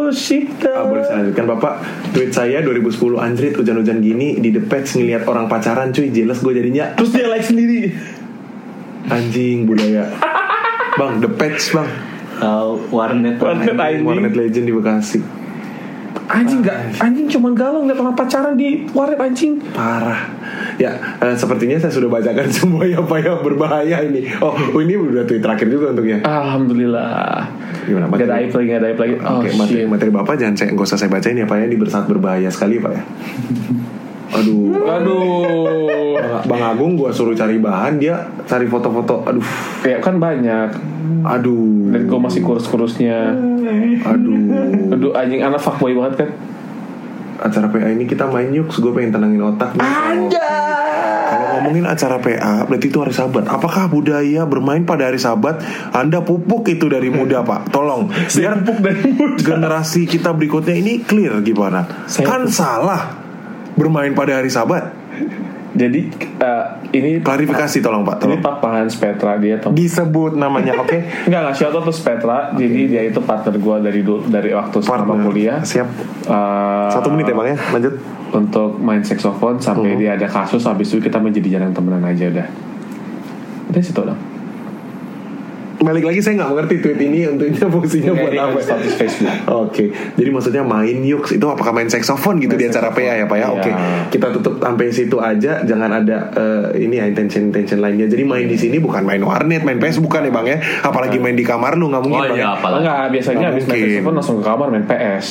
Ah,
Shita.
boleh saya lanjutkan bapak tweet saya 2010 anjrit hujan-hujan gini di depet ngelihat orang pacaran cuy jelas gue jadinya
Terus dia like sendiri.
anjing budaya bang depet bang
Tahu warnet.
Warnet
Anjing,
anjing.
warnet legend di Bekasi
Anjing gak, anjing cuman galau ngeliat orang pacaran di warnet anjing.
parah ya eh, sepertinya saya sudah bacakan [LAUGHS] semua yang apa yang berbahaya ini oh ini udah tweet terakhir juga ya. untuknya
Alhamdulillah.
Gimana,
Gak ada
materi?
aib lagi, gak ada aib lagi. Oh
oke materi
shit.
materi bapak jangan saya nggak usah saya bacain ya pak ya ini sangat berbahaya sekali pak ya aduh
Aduh.
Bang Agung gua suruh cari bahan dia cari foto-foto aduh
Ya kan banyak
aduh
Dan gue masih kurus-kurusnya
aduh
Aduh anjing anak fuckboy banget kan
acara PA ini kita main yuk gue pengen tenangin otak nih. Kalau ngomongin acara PA berarti itu hari Sabat. Apakah budaya bermain pada hari Sabat Anda pupuk itu dari muda, Pak? Tolong. Biar Hmm. pupuk dari muda. Generasi kita berikutnya ini clear gimana?
Saya-
kan salah bermain pada hari Sabat.
Jadi eh, ini
Klarifikasi tolong, Pak. Tolong.
Ini papahan Spetra dia teman
Disebut namanya, oke?
Enggak enggak shout out to Spetra Jadi dia itu partner gue dari dulu- dari waktu selama
Partner.
kuliah
Siap.
Eh,
Satu menit ya, Uh-huh. Bang ya. Lanjut.
Untuk main saxophone sampai dia ada kasus Habis itu kita menjadi jarang temenan aja udah Udah situ dong
Balik lagi saya nggak mengerti tweet ini untuknya fungsinya buat
Ini
apa.
kan status Facebook
Oke, jadi maksudnya main yuk itu apakah main saxophone gitu di acara PA ya Pak ya?
Iya.
Oke, kita tutup sampai situ aja, jangan ada eh, ini ya intention intention lainnya. Jadi main di sini bukan main warnet, main PS bukan ya Bang ya? Apalagi main di kamar lu nggak mungkin
Oh
Bang ya?
iya apalah.
Enggak biasanya
Nggak
habis main
mungkin.
saxophone langsung ke kamar main PS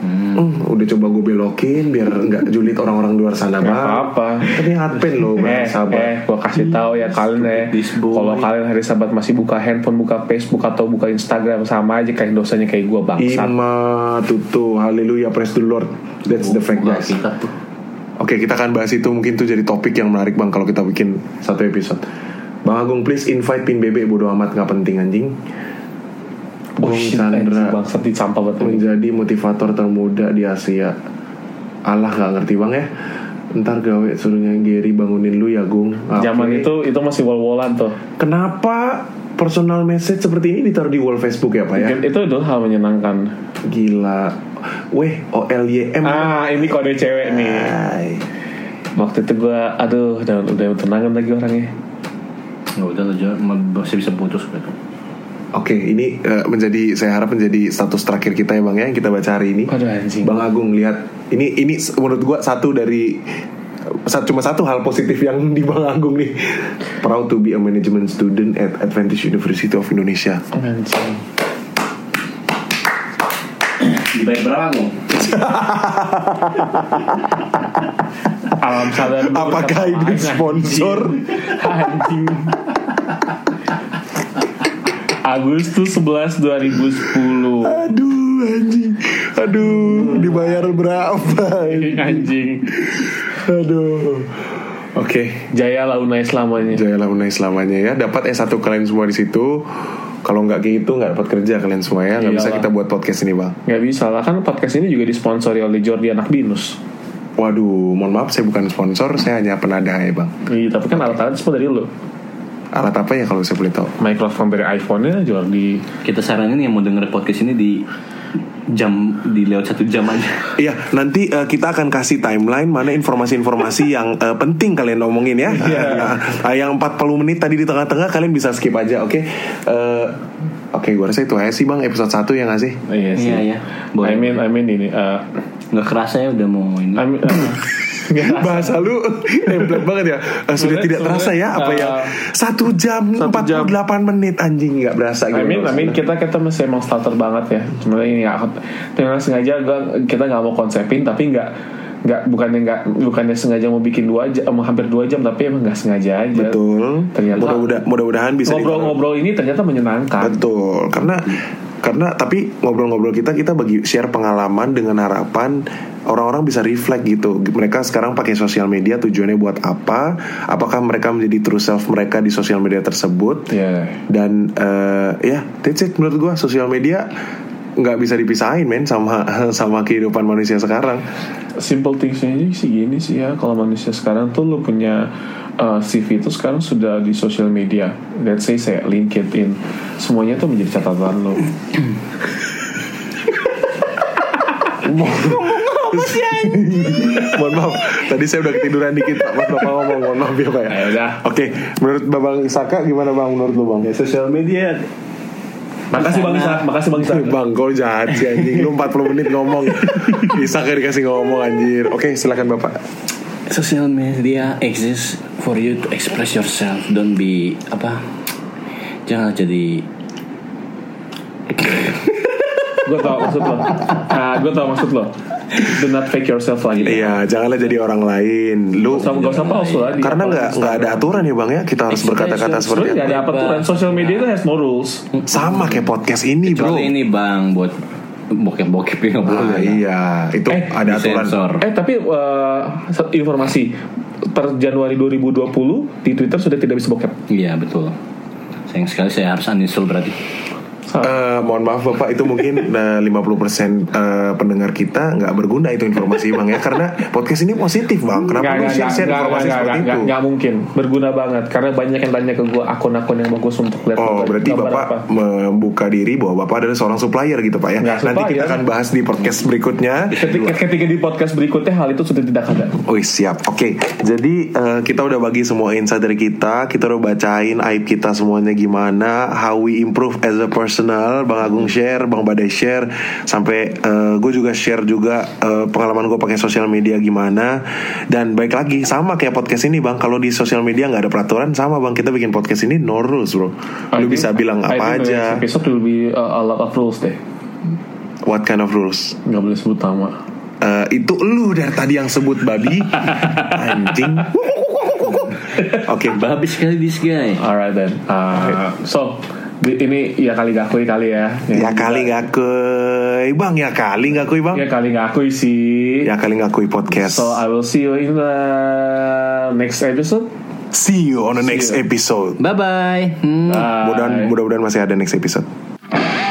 Hmm, udah coba gue belokin biar nggak julid orang-orang luar sana
Gak
Bang.
apa-apa
Tapi hardpan lo
Eh,
Bang,
eh,
sahabat.
gue kasih tahu ya kalian ya.
this boy.
Kalau kalian hari Sabat masih buka handphone, buka Facebook atau buka Instagram sama aja kayak dosanya kayak gue bangsat.
Ima tutu haleluya praise the Lord. That's iya. the fact guys.
Kita tuh.
Oke kita akan bahas itu mungkin itu jadi topik yang menarik bang kalau kita bikin satu episode. Bang Agung please invite pin bebek bodo amat nggak penting anjing.
Oh
Bung
shit, eh, anjing,
Chandra
bangsat disampah banget.
menjadi motivator termuda di Asia. Allah nggak ngerti bang ya. Ntar gawe suruhnya Gary bangunin lu ya Gung. Oke.
Zaman itu itu masih wall-wallan tuh.
Kenapa personal message seperti ini ditaruh di wall Facebook ya pak ya?
Itu adalah hal menyenangkan.
Gila. Weh OLYM.
Ah, ini kode cewek
Ah.
nih.
Ay.
Waktu itu gue, aduh, udah udah tenangan lagi orangnya.
Ya udah lo Jor, masih bisa putus gitu.
Oke, ini eh, menjadi saya harap menjadi status terakhir kita ya Bang ya yang kita baca hari ini.
Aduh anjing.
Bang Agung lihat ini ini s- menurut gua satu dari sa- cuma satu hal positif yang di Bang Agung nih. Proud to be a management student at Advantage University of Indonesia.
Anjing.
Dibayar berapa Gung?
Alam sadar menurut
Apakah
kata
ini
lain,
sponsor?
Anjing. Agustus 11 2010
Aduh anjing Aduh dibayar berapa
Anjing
Aduh Oke
Jaya launai selamanya
Jayalah Unai selamanya ya Dapat S1 kalian semua di situ kalau nggak kayak gitu nggak dapat kerja kalian semua ya nggak bisa
Iyalah.
kita buat podcast ini bang.
Gak bisa lah Kan podcast ini juga disponsori oleh Jordi Anak Binus
Waduh, mohon maaf saya bukan sponsor, saya hanya penadah ya bang.
Iya, Tapi kan alat-alat semua dari lo
Alat apa ya kalau saya boleh tahu?
Microphone dari iPhone-nya Jordi
Kita saranin yang mau denger podcast ini di jam di lewat satu jam aja.
Iya, nanti eh, kita akan kasih timeline mana informasi-informasi [LAUGHS] yang eh, penting kalian omongin ya. [LAUGHS] Ah, yang 40 menit tadi di tengah-tengah kalian bisa skip aja, oke? Eh, oke, gua rasa itu aja sih Bang episode 1 ya nggak sih?
Iya sih
Iya ya.
I
Boleh.
mean, I mean ini eh,
Nggak kerasa ya udah mau ini.
I mean, eh,
[LAUGHS] Bahasa [LAUGHS] lu template banget ya. Eh, sudah
Sebenarnya-
tidak terasa ya apa
sebenarnya,
yang 1
eh,
jam 48
jam.
menit anjing nggak berasa gitu.
I mean, I mean kita kita masih emang starter banget ya. Sebenarnya ini nggak dengan sengaja gua- kita nggak mau konsepin tapi nggak nggak bukannya nggak bukannya sengaja mau bikin dua jam mau hampir dua jam tapi emang nggak sengaja aja.
Betul.
Ternyata
Mudah-muda- mudah-mudahan bisa ditolerir.
ngobrol-ngobrol ini ternyata menyenangkan.
Betul, karena karena tapi ngobrol-ngobrol kita kita bagi share pengalaman dengan harapan orang-orang bisa reflect gitu. Mereka sekarang pakai sosial media tujuannya buat apa? Apakah mereka menjadi true self mereka di sosial media tersebut?
Ya.
Dan eh, ya, that's it menurut gua sosial media nggak bisa dipisahin men sama [LAUGHS] sama kehidupan manusia sekarang.
Simple thingsnya aja sih gini sih ya. Kalau manusia sekarang tuh lu punya uh, CV itu sekarang sudah di sosial media. Let's say saya LinkedIn. Semuanya tuh menjadi catatan lo.
[LAUGHS] mohon maaf, tadi saya udah ketiduran dikit Pak. Pas Bapak ngomong, mohon maaf ya Pak ya.
Ya udah.
Oke, menurut Babang Saka gimana Bang menurut lu Bang?
Ya sosial media
Makasih Bang Isa, makasih Bang Isa.
Bang kau jahat sih anjing Lu 40 menit ngomong Bisa kayak dikasih ngomong anjir Oke silakan bapak
Social media exists for you to express yourself. Don't be apa? Jangan jadi
gue tau maksud lo ah gue tau maksud lo do not fake yourself lagi
Iya janganlah jadi orang lain Lu
Gak usah, gak usah palsu lah dia.
Iya, Karena nggak nggak ada aturan ya bang ya Kita harus berkata-kata seperti
Iya, Sebenarnya nggak
itu
ada apa aturan Social media itu has no rules
Sama kayak podcast ini bro
Kecuali ini bang buat bokep-bokep yang
Ah,
boleh.
Iya Itu
Eh,
ada aturan
Sensor.
Eh tapi eh, se- informasi Per Januari 2020 Di Twitter sudah tidak bisa bokep
Iya betul. Sayang sekali saya harus uninstall berarti.
Eh, mohon maaf bapak itu mungkin eh, 50% eh, pendengar kita nggak berguna itu informasi bang ya karena podcast ini positif bang
Nggak,
kenapa lu
nggak,
share share
nggak,
informasi
nggak,
seperti itu
nggak, nggak, nggak mungkin Berguna banget Karena banyak yang tanya ke gue Akun-akun yang bagus untuk
Oh,
lihat gambar-
berarti
gambar
Bapak
apa.
membuka diri bahwa Bapak adalah seorang supplier gitu, Pak ya.
Nggak,
Nanti kita
supplier.
akan bahas di podcast berikutnya.
Ketika, ketika di podcast berikutnya Hal itu sudah tidak ada
Wih, siap. Oke. Jadi eh, kita udah bagi semua insight dari kita, kita udah bacain aib kita semuanya gimana, how we improve as a personal. Bang Agung share, Bang Badai share, sampai gue juga share juga eh, pengalaman gue pakai sosial media gimana. Dan baik lagi sama kayak podcast ini, Bang. Kalau di sosial media nggak ada peraturan sama, Bang. Kita bikin podcast ini no rules, Bro. Lu
I
bisa
think-
bilang
I
apa
think the
aja.
next Episode will be uh, a lot of rules deh
What kind of rules?
Gak boleh sebut nama
Eh, itu lu dari tadi yang sebut babi anjing oke
Habis sekali this guy.
Alright then. Uh, so di- ini ya kali gak akui kali ya.
ya kali ngakui bang ya kali ngakui bang
Ya kali gak akui sih.
ya kali ngakui podcast
So I will see you in the next episode.
see you on the next episode
Bye bye. Hmm.
Bye.
mudah mudah-mudahan masih ada next episode